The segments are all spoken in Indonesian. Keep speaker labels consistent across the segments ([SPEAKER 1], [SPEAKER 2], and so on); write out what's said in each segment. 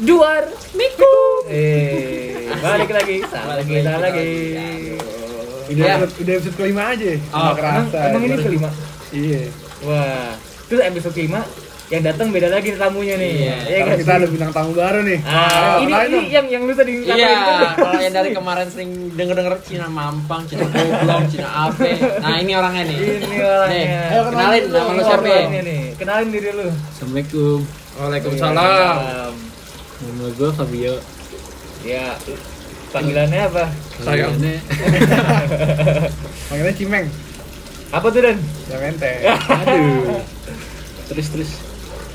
[SPEAKER 1] Juar Miku.
[SPEAKER 2] Eh, balik lagi. Salah
[SPEAKER 3] Balik
[SPEAKER 2] lagi.
[SPEAKER 3] lagi,
[SPEAKER 2] Salah
[SPEAKER 3] balik
[SPEAKER 2] lagi.
[SPEAKER 3] lagi.
[SPEAKER 4] Udah,
[SPEAKER 2] Ya.
[SPEAKER 4] episode, udah episode kelima aja. ya?
[SPEAKER 2] Oh,
[SPEAKER 4] Nggak kerasa.
[SPEAKER 2] emang, emang ini
[SPEAKER 4] Baru-
[SPEAKER 2] kelima.
[SPEAKER 4] Iya.
[SPEAKER 2] Wah, terus episode kelima yang datang beda lagi tamunya nih.
[SPEAKER 3] Iya.
[SPEAKER 2] Iya
[SPEAKER 4] Sekarang
[SPEAKER 2] kan?
[SPEAKER 4] kita ada bintang tamu baru nih.
[SPEAKER 2] Ah,
[SPEAKER 4] Ayo,
[SPEAKER 2] ini,
[SPEAKER 4] kenalin
[SPEAKER 2] ini
[SPEAKER 4] dong.
[SPEAKER 2] yang yang lu tadi ngatain
[SPEAKER 3] Iya,
[SPEAKER 2] kan?
[SPEAKER 3] kalau yang dari kemarin sering denger-denger Cina Mampang, Cina Goblok, Cina Ape. Nah, ini orangnya nih.
[SPEAKER 2] Ini orangnya.
[SPEAKER 3] Nih,
[SPEAKER 2] Ayo,
[SPEAKER 3] kenalin
[SPEAKER 4] kenalin
[SPEAKER 3] nama lu
[SPEAKER 4] dulu
[SPEAKER 3] siapa?
[SPEAKER 2] Orangnya nih. Kenalin diri lu. Iya,
[SPEAKER 5] Assalamualaikum.
[SPEAKER 3] Waalaikumsalam.
[SPEAKER 5] Nama gue Fabio.
[SPEAKER 2] Ya, panggilannya apa?
[SPEAKER 4] Sayang.
[SPEAKER 5] Kaliannya
[SPEAKER 4] Panggilnya Cimeng.
[SPEAKER 2] Apa tuh Dan?
[SPEAKER 4] Yang ente.
[SPEAKER 5] Aduh. Terus terus.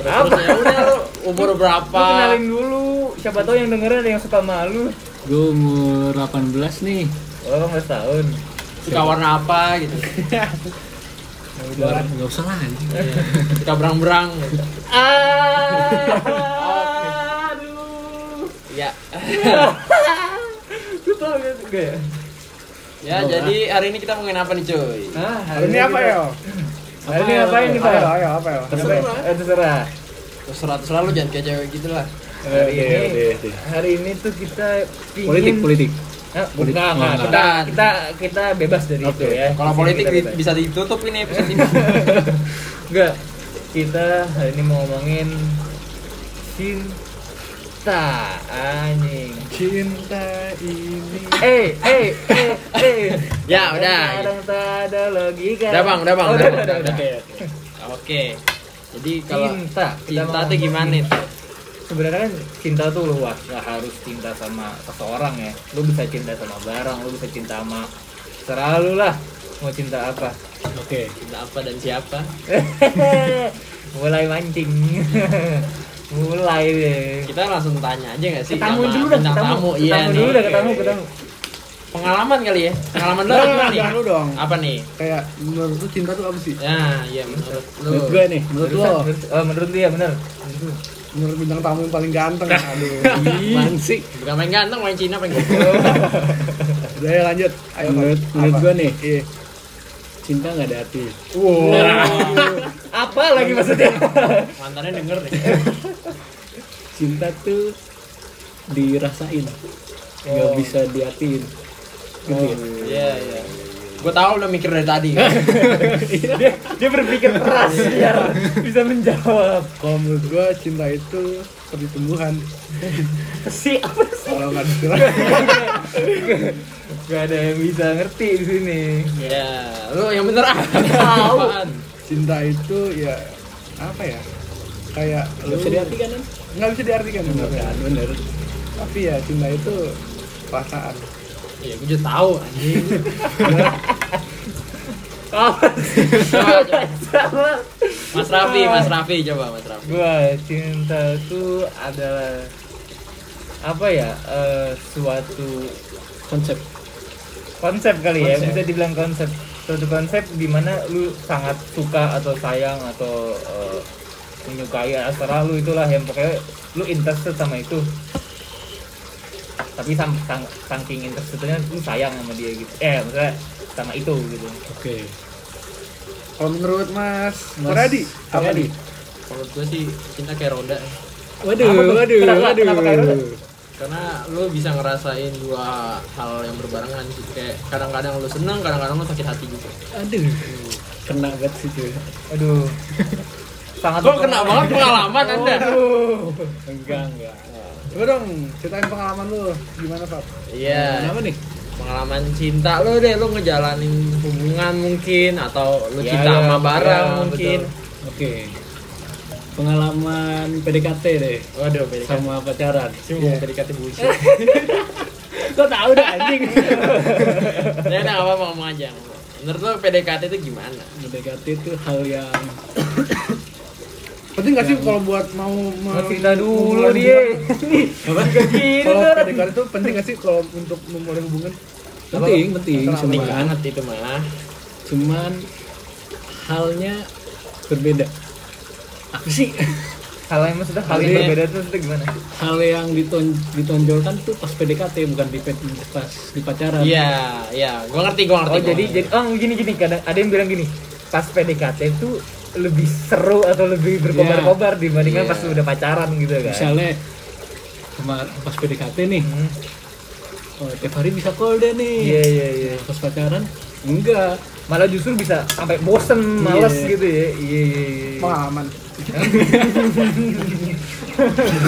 [SPEAKER 2] Apa?
[SPEAKER 3] Ya udah lu umur
[SPEAKER 2] Lu
[SPEAKER 3] berapa?
[SPEAKER 2] kenalin dulu, siapa tahu yang dengerin ada yang suka malu.
[SPEAKER 5] Gue umur 18 nih.
[SPEAKER 2] Oh, 18 tahun.
[SPEAKER 3] Suka warna apa gitu.
[SPEAKER 5] Gak nggak usah lah. anjing.
[SPEAKER 3] Iya. Suka berang-berang gitu.
[SPEAKER 2] Ah, aduh.
[SPEAKER 3] Ya.
[SPEAKER 2] Lu tau gak sih? Gak ya?
[SPEAKER 3] Ya, jadi hari ini kita mau ngomongin apa nih, cuy?
[SPEAKER 2] Ah,
[SPEAKER 4] Hari ini apa
[SPEAKER 2] kita-
[SPEAKER 4] ya?
[SPEAKER 2] Hari ini ngapain nih, Pak?
[SPEAKER 4] Ayo, ayo, apa ya?
[SPEAKER 2] Ngapain?
[SPEAKER 3] Terserah.
[SPEAKER 2] Eh, terserah.
[SPEAKER 3] Terserah, terserah lu jangan kayak cewek gitu lah.
[SPEAKER 2] Hari
[SPEAKER 4] Oke,
[SPEAKER 2] ini,
[SPEAKER 4] oke,
[SPEAKER 3] iya.
[SPEAKER 4] oke.
[SPEAKER 2] hari ini tuh kita pingin
[SPEAKER 5] Politik politik.
[SPEAKER 2] Hah?
[SPEAKER 5] Politik.
[SPEAKER 2] Enggak,
[SPEAKER 3] Nah,
[SPEAKER 2] enggak.
[SPEAKER 5] Enggak.
[SPEAKER 2] Kita, kita, kita bebas dari
[SPEAKER 5] Oke.
[SPEAKER 2] itu ya.
[SPEAKER 3] Kalau
[SPEAKER 2] Di sini
[SPEAKER 3] politik
[SPEAKER 2] kita
[SPEAKER 3] di-
[SPEAKER 2] bebas.
[SPEAKER 3] bisa ditutup ini episode ini.
[SPEAKER 2] Enggak. Kita hari ini mau ngomongin cinta anjing.
[SPEAKER 4] Cinta ini.
[SPEAKER 2] Eh, eh, eh, eh.
[SPEAKER 3] Ya, udah.
[SPEAKER 2] Kadang tak ada logika.
[SPEAKER 3] Udah, Bang, udah, Bang,
[SPEAKER 2] Oh,
[SPEAKER 3] udah,
[SPEAKER 2] udah,
[SPEAKER 3] Bang,
[SPEAKER 2] udah,
[SPEAKER 3] udah.
[SPEAKER 2] udah.
[SPEAKER 3] Oke. Jadi kalau
[SPEAKER 2] Cinta. Kita
[SPEAKER 3] cinta
[SPEAKER 2] mau
[SPEAKER 3] tuh gimana nih?
[SPEAKER 2] sebenarnya kan cinta tuh luas nggak harus cinta sama seseorang ya lu bisa cinta sama barang lu bisa cinta sama terserah lu lah mau cinta apa
[SPEAKER 5] Oke.
[SPEAKER 3] Cinta apa dan siapa?
[SPEAKER 2] mulai mancing mulai deh
[SPEAKER 3] Kita langsung tanya aja gak sih?
[SPEAKER 2] ketamu
[SPEAKER 3] sama
[SPEAKER 2] dulu dah
[SPEAKER 3] bintang
[SPEAKER 2] ketamu
[SPEAKER 3] tamu? Iya
[SPEAKER 2] ketamu
[SPEAKER 3] nih.
[SPEAKER 2] dulu dah ketamu Nah, ketamu
[SPEAKER 3] Pengalaman kali ya? Pengalaman lu
[SPEAKER 4] Jangan,
[SPEAKER 3] gimana nih?
[SPEAKER 4] jangan lu dong.
[SPEAKER 3] Apa nih?
[SPEAKER 4] Kayak menurut lu cinta tuh apa sih?
[SPEAKER 3] Nah, iya menurut lu.
[SPEAKER 5] Menurut gue nih.
[SPEAKER 4] Menurut
[SPEAKER 2] Menurut-
[SPEAKER 4] lo,
[SPEAKER 2] menurut, oh, menurut dia bener Menurut lu.
[SPEAKER 4] menurut bintang tamu yang paling ganteng. Aduh.
[SPEAKER 5] Apaan sih?
[SPEAKER 3] Bukan main ganteng, main Cina, main goblok.
[SPEAKER 2] Oh.
[SPEAKER 4] Udah ya lanjut. Ayo,
[SPEAKER 5] Menurut
[SPEAKER 4] Pak.
[SPEAKER 5] menurut
[SPEAKER 4] Apa?
[SPEAKER 5] gue nih.
[SPEAKER 4] Iya.
[SPEAKER 5] Cinta nggak ada hati.
[SPEAKER 4] Wow.
[SPEAKER 2] apa lagi maksudnya
[SPEAKER 3] Mantannya denger deh.
[SPEAKER 5] Cinta tuh dirasain. Nggak
[SPEAKER 2] Oh.
[SPEAKER 5] bisa dihatiin. Gitu ya?
[SPEAKER 3] Iya, iya. Gue tau lu udah mikir dari tadi.
[SPEAKER 2] Iya. dia, dia berpikir keras biar bisa menjawab
[SPEAKER 4] Kalau menurut gua cinta itu seperti tumbuhan.
[SPEAKER 2] si apa sih
[SPEAKER 4] Kalau nggak disiram.
[SPEAKER 2] gak ada yang bisa ngerti di sini
[SPEAKER 3] Iya, lu yang bener ah.
[SPEAKER 2] Tahu.
[SPEAKER 3] Apaan?
[SPEAKER 4] cinta itu ya apa ya? Kayak
[SPEAKER 5] Nggak bisa diartikan kan?
[SPEAKER 4] Oh. nggak bisa diartikan sebenarnya.
[SPEAKER 5] Bener, Bener.
[SPEAKER 4] Tapi ya cinta itu perasaan.
[SPEAKER 3] Iya, gue juga tau anjing.
[SPEAKER 2] apa sih?
[SPEAKER 3] Coba, coba.
[SPEAKER 2] sama
[SPEAKER 3] Mas Raffi, Mas Raffi coba Mas Raffi.
[SPEAKER 2] gua cinta itu adalah apa ya eh, suatu
[SPEAKER 5] Konsep.
[SPEAKER 2] konsep kali ya
[SPEAKER 5] Konsep.
[SPEAKER 2] bisa dibilang konsep suatu konsep di mana lu sangat suka atau sayang atau eh, menyukai asal lu itulah yang pokoknya lu interested sama itu tapi sam sang saking interestednya lu sayang sama dia gitu eh maksudnya sama itu gitu
[SPEAKER 5] Oke.
[SPEAKER 4] Kalau menurut Mas,
[SPEAKER 5] Mas
[SPEAKER 4] Feradi, apa
[SPEAKER 5] Feradi.
[SPEAKER 4] nih?
[SPEAKER 3] Menurut gue sih cinta kayak roda
[SPEAKER 5] Waduh,
[SPEAKER 2] Apa tuh?
[SPEAKER 5] waduh,
[SPEAKER 2] Kenapa-
[SPEAKER 5] waduh.
[SPEAKER 2] kenapa kayak roda?
[SPEAKER 3] karena lu bisa ngerasain dua hal yang berbarengan sih kayak kadang-kadang lu seneng kadang-kadang lu sakit hati gitu. juga
[SPEAKER 5] Aduh. Kena banget sih cuy.
[SPEAKER 2] aduh sangat
[SPEAKER 3] kok kena banget pengalaman anda
[SPEAKER 2] Aduh.
[SPEAKER 5] Enggak, enggak.
[SPEAKER 4] Coba dong, ceritain pengalaman lu gimana, Pak?
[SPEAKER 3] iya
[SPEAKER 5] Kenapa nih?
[SPEAKER 3] pengalaman cinta lu deh lu ngejalanin hubungan mungkin atau lu
[SPEAKER 2] Iya,
[SPEAKER 3] cinta
[SPEAKER 2] iya,
[SPEAKER 3] sama barang
[SPEAKER 2] iya,
[SPEAKER 3] mungkin
[SPEAKER 5] Oke. Pengalaman PDKT deh
[SPEAKER 3] waduh beda sama
[SPEAKER 5] sama pacaran.
[SPEAKER 3] sih mau PDKT bullshit
[SPEAKER 5] Kok tahu dah anjing.
[SPEAKER 3] ya udah apa mau ngomong aja menurut lu PDKT itu gimana
[SPEAKER 5] PDKT itu hal yang
[SPEAKER 4] Penting nggak sih kalau buat mau
[SPEAKER 2] Mau
[SPEAKER 4] mau-
[SPEAKER 2] cerita dulu
[SPEAKER 4] memulai
[SPEAKER 2] dia.
[SPEAKER 5] apa?
[SPEAKER 2] Gini
[SPEAKER 4] hubungan? Kalau
[SPEAKER 2] tuh.
[SPEAKER 4] PDKT itu penting nggak sih kalau untuk memulai hubungan?
[SPEAKER 5] penting, penting,
[SPEAKER 4] Apa?
[SPEAKER 5] penting ya?
[SPEAKER 3] penting
[SPEAKER 5] cuman,
[SPEAKER 3] banget itu malah
[SPEAKER 5] cuman halnya berbeda. Apa sih?
[SPEAKER 2] hal yang maksudnya hal yang
[SPEAKER 5] Ini-
[SPEAKER 2] berbeda itu maksudnya gimana
[SPEAKER 5] Hal yang diton- ditonjolkan tuh pas PDKT bukan di pe- pas di pacaran.
[SPEAKER 3] iya iya gua ngerti gua ngerti
[SPEAKER 2] oh
[SPEAKER 3] gua
[SPEAKER 2] jadi
[SPEAKER 3] ngerti.
[SPEAKER 2] jadi oh gini gini kadang ada yang bilang gini pas PDKT itu lebih seru atau lebih berkobar-kobar dibandingkan
[SPEAKER 3] Iya.
[SPEAKER 2] pas lu udah pacaran gitu kan
[SPEAKER 5] Misalnya sama pas PDKT nih
[SPEAKER 2] Hmm.
[SPEAKER 5] oh, tiap hari bisa call deh
[SPEAKER 2] Iya
[SPEAKER 5] nih
[SPEAKER 2] iya iya.
[SPEAKER 5] pas pacaran enggak
[SPEAKER 2] Malah justru bisa sampai bosen, males
[SPEAKER 5] Iya.
[SPEAKER 2] gitu ya. Iya iya iya.
[SPEAKER 4] pengalaman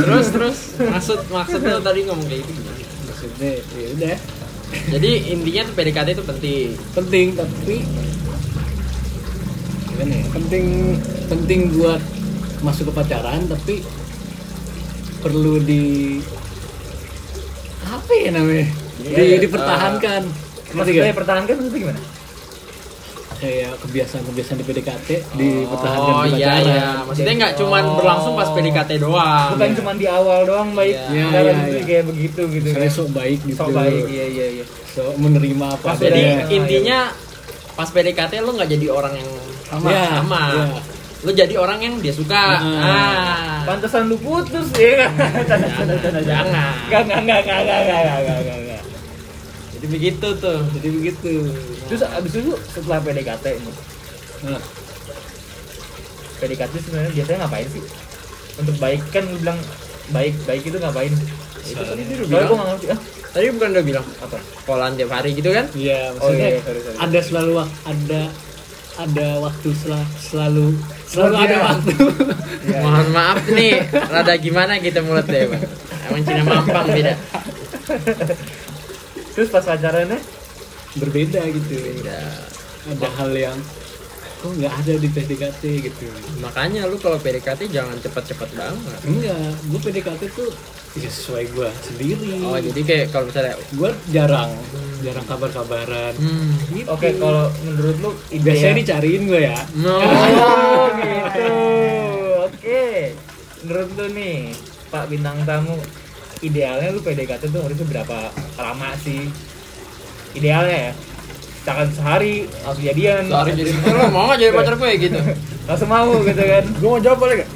[SPEAKER 3] terus terus maksud maksudnya tadi ngomong kayak gitu gimana?
[SPEAKER 5] maksudnya ya udah
[SPEAKER 3] jadi intinya tuh PDKT itu penting
[SPEAKER 5] penting tapi gimana ya
[SPEAKER 4] penting
[SPEAKER 5] penting buat masuk ke pacaran tapi perlu di apa ya namanya
[SPEAKER 3] Iya,
[SPEAKER 5] di,
[SPEAKER 3] iya.
[SPEAKER 5] dipertahankan Ngerti
[SPEAKER 2] Maksudnya
[SPEAKER 5] nggak?
[SPEAKER 2] pertahankan itu gimana?
[SPEAKER 5] kayak kebiasaan-kebiasaan di PDKT dipertahankan
[SPEAKER 3] oh
[SPEAKER 5] di
[SPEAKER 3] iya
[SPEAKER 5] pacaran
[SPEAKER 3] iya maksudnya nggak cuman berlangsung pas PDKT doang
[SPEAKER 2] Bukan cuma Kan di awal doang baik.
[SPEAKER 5] Iya,
[SPEAKER 2] Sekarang
[SPEAKER 5] iya,
[SPEAKER 2] justru
[SPEAKER 5] iya.
[SPEAKER 2] kayak begitu gitu.
[SPEAKER 5] Misalnya
[SPEAKER 2] kan.
[SPEAKER 5] sok baik gitu
[SPEAKER 2] Sok baik. Iya iya iya.
[SPEAKER 5] Sok menerima apa
[SPEAKER 2] Pas
[SPEAKER 3] jadi
[SPEAKER 5] adanya.
[SPEAKER 2] Iya.
[SPEAKER 3] intinya pas PDKT lo nggak jadi orang yang
[SPEAKER 4] sama
[SPEAKER 5] Iya.
[SPEAKER 3] sama lo jadi orang yang dia suka
[SPEAKER 5] Mm.
[SPEAKER 3] ah
[SPEAKER 2] Pantesan lu putus ya.
[SPEAKER 5] Iya.
[SPEAKER 2] Tanda tanda tanda jangan. Kan?
[SPEAKER 3] jangan
[SPEAKER 2] Enggak enggak enggak enggak enggak enggak enggak enggak enggak.
[SPEAKER 3] jadi begitu tuh
[SPEAKER 5] jadi begitu
[SPEAKER 2] Terus abis itu setelah PDKT ini,
[SPEAKER 5] nah,
[SPEAKER 2] PDKT sebenarnya biasanya ngapain sih? Untuk baik kan lu bilang baik baik itu ngapain? Itu tadi dia udah bilang. Gue nggak ngerti ah
[SPEAKER 3] tadi bukan udah bilang
[SPEAKER 2] apa?
[SPEAKER 3] kolan tiap hari gitu kan
[SPEAKER 2] Oh
[SPEAKER 5] iya maksudnya
[SPEAKER 2] iya, iya, sorry sorry.
[SPEAKER 5] ada selalu wak- ada ada waktu sel- selalu selalu
[SPEAKER 4] Oh,
[SPEAKER 5] ada
[SPEAKER 4] iya.
[SPEAKER 5] waktu
[SPEAKER 4] Iya, iya.
[SPEAKER 3] mohon maaf nih rada gimana kita mulut deh Bang. emang Cina mampang beda
[SPEAKER 2] Terus pas pacarannya
[SPEAKER 5] berbeda gitu
[SPEAKER 3] beda
[SPEAKER 5] ada hal yang kok nggak ada di PDKT gitu
[SPEAKER 3] makanya lu kalau PDKT jangan cepat-cepat banget
[SPEAKER 5] enggak gue PDKT tuh ya sesuai gue sendiri
[SPEAKER 3] oh jadi kayak kalau misalnya
[SPEAKER 5] gue jarang jarang kabar-kabaran
[SPEAKER 3] hmm
[SPEAKER 5] gitu.
[SPEAKER 2] Oke, kalau menurut lu
[SPEAKER 5] biasanya
[SPEAKER 2] ide
[SPEAKER 5] dicariin gue ya
[SPEAKER 3] no
[SPEAKER 2] Oh, gitu. Oke. Menurut lu nih, Pak bintang tamu, idealnya lu PDKT tuh harusnya berapa lama sih? Idealnya ya. Misalkan sehari langsung jadian.
[SPEAKER 3] Sorry, jadi lu mau gak jadi pacar gue gitu
[SPEAKER 2] Langsung mau gitu kan.
[SPEAKER 4] gue mau jawab boleh gak?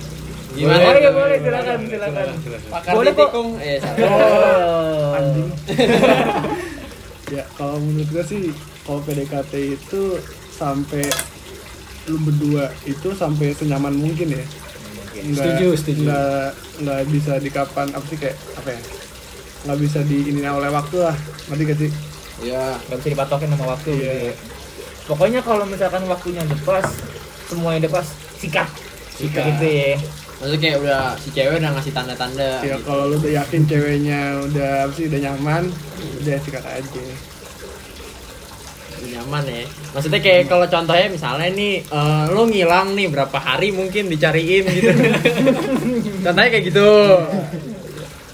[SPEAKER 3] gimana
[SPEAKER 2] Boleh,
[SPEAKER 3] tuh?
[SPEAKER 2] boleh, silakan, silakan.
[SPEAKER 3] pakar
[SPEAKER 2] Boleh, kok.
[SPEAKER 3] ditikung eh salah.
[SPEAKER 2] Oh.
[SPEAKER 4] Anjing. ya kalau menurut gue sih kalau PDKT itu sampai lu berdua itu sampai senyaman mungkin ya Nggak-
[SPEAKER 5] Setuju, setuju.
[SPEAKER 4] nggak nggak bisa dikapan apa sih kayak apa ya nggak bisa diinin oleh waktu lah nanti gak sih
[SPEAKER 3] ya
[SPEAKER 2] Gak bisa dipatokin sama waktu
[SPEAKER 4] Iya,
[SPEAKER 2] gitu
[SPEAKER 4] iya.
[SPEAKER 2] ya. Pokoknya kalau misalkan waktunya udah pas, semuanya udah pas, sikat.
[SPEAKER 5] Sikat.
[SPEAKER 2] Gitu ya.
[SPEAKER 3] maksudnya kayak udah si cewek udah ngasih tanda-tanda
[SPEAKER 4] ya
[SPEAKER 3] gitu.
[SPEAKER 4] kalau lu udah yakin ceweknya udah apa sih udah nyaman udah sikat aja
[SPEAKER 3] Udah nyaman ya maksudnya kayak kalau contohnya misalnya nih eh, lu ngilang nih berapa hari mungkin dicariin gitu contohnya kayak gitu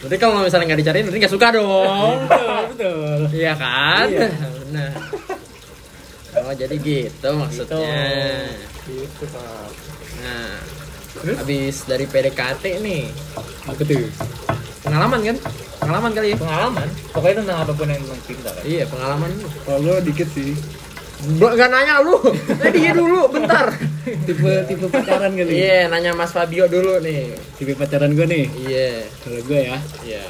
[SPEAKER 3] berarti kalau misalnya nggak dicariin berarti nggak suka dong
[SPEAKER 5] betul
[SPEAKER 3] iya kan benar oh jadi gitu maksudnya
[SPEAKER 4] gitu Pak.
[SPEAKER 3] nah
[SPEAKER 2] Terus?
[SPEAKER 3] habis dari PDKT nih
[SPEAKER 5] aku tuh
[SPEAKER 3] pengalaman kan pengalaman kali ya
[SPEAKER 2] Pengalaman, pokoknya tentang apapun yang tentang cinta kan.
[SPEAKER 3] iya pengalaman lu
[SPEAKER 4] kalau gue dikit sih
[SPEAKER 3] Bro, gak nanya lu, tadi dia dulu, bentar.
[SPEAKER 5] tipe tipe pacaran kali
[SPEAKER 3] Iya, nanya Mas Fabio dulu nih.
[SPEAKER 5] tipe pacaran gue nih
[SPEAKER 3] Iya,
[SPEAKER 5] kalau gue ya
[SPEAKER 3] iya.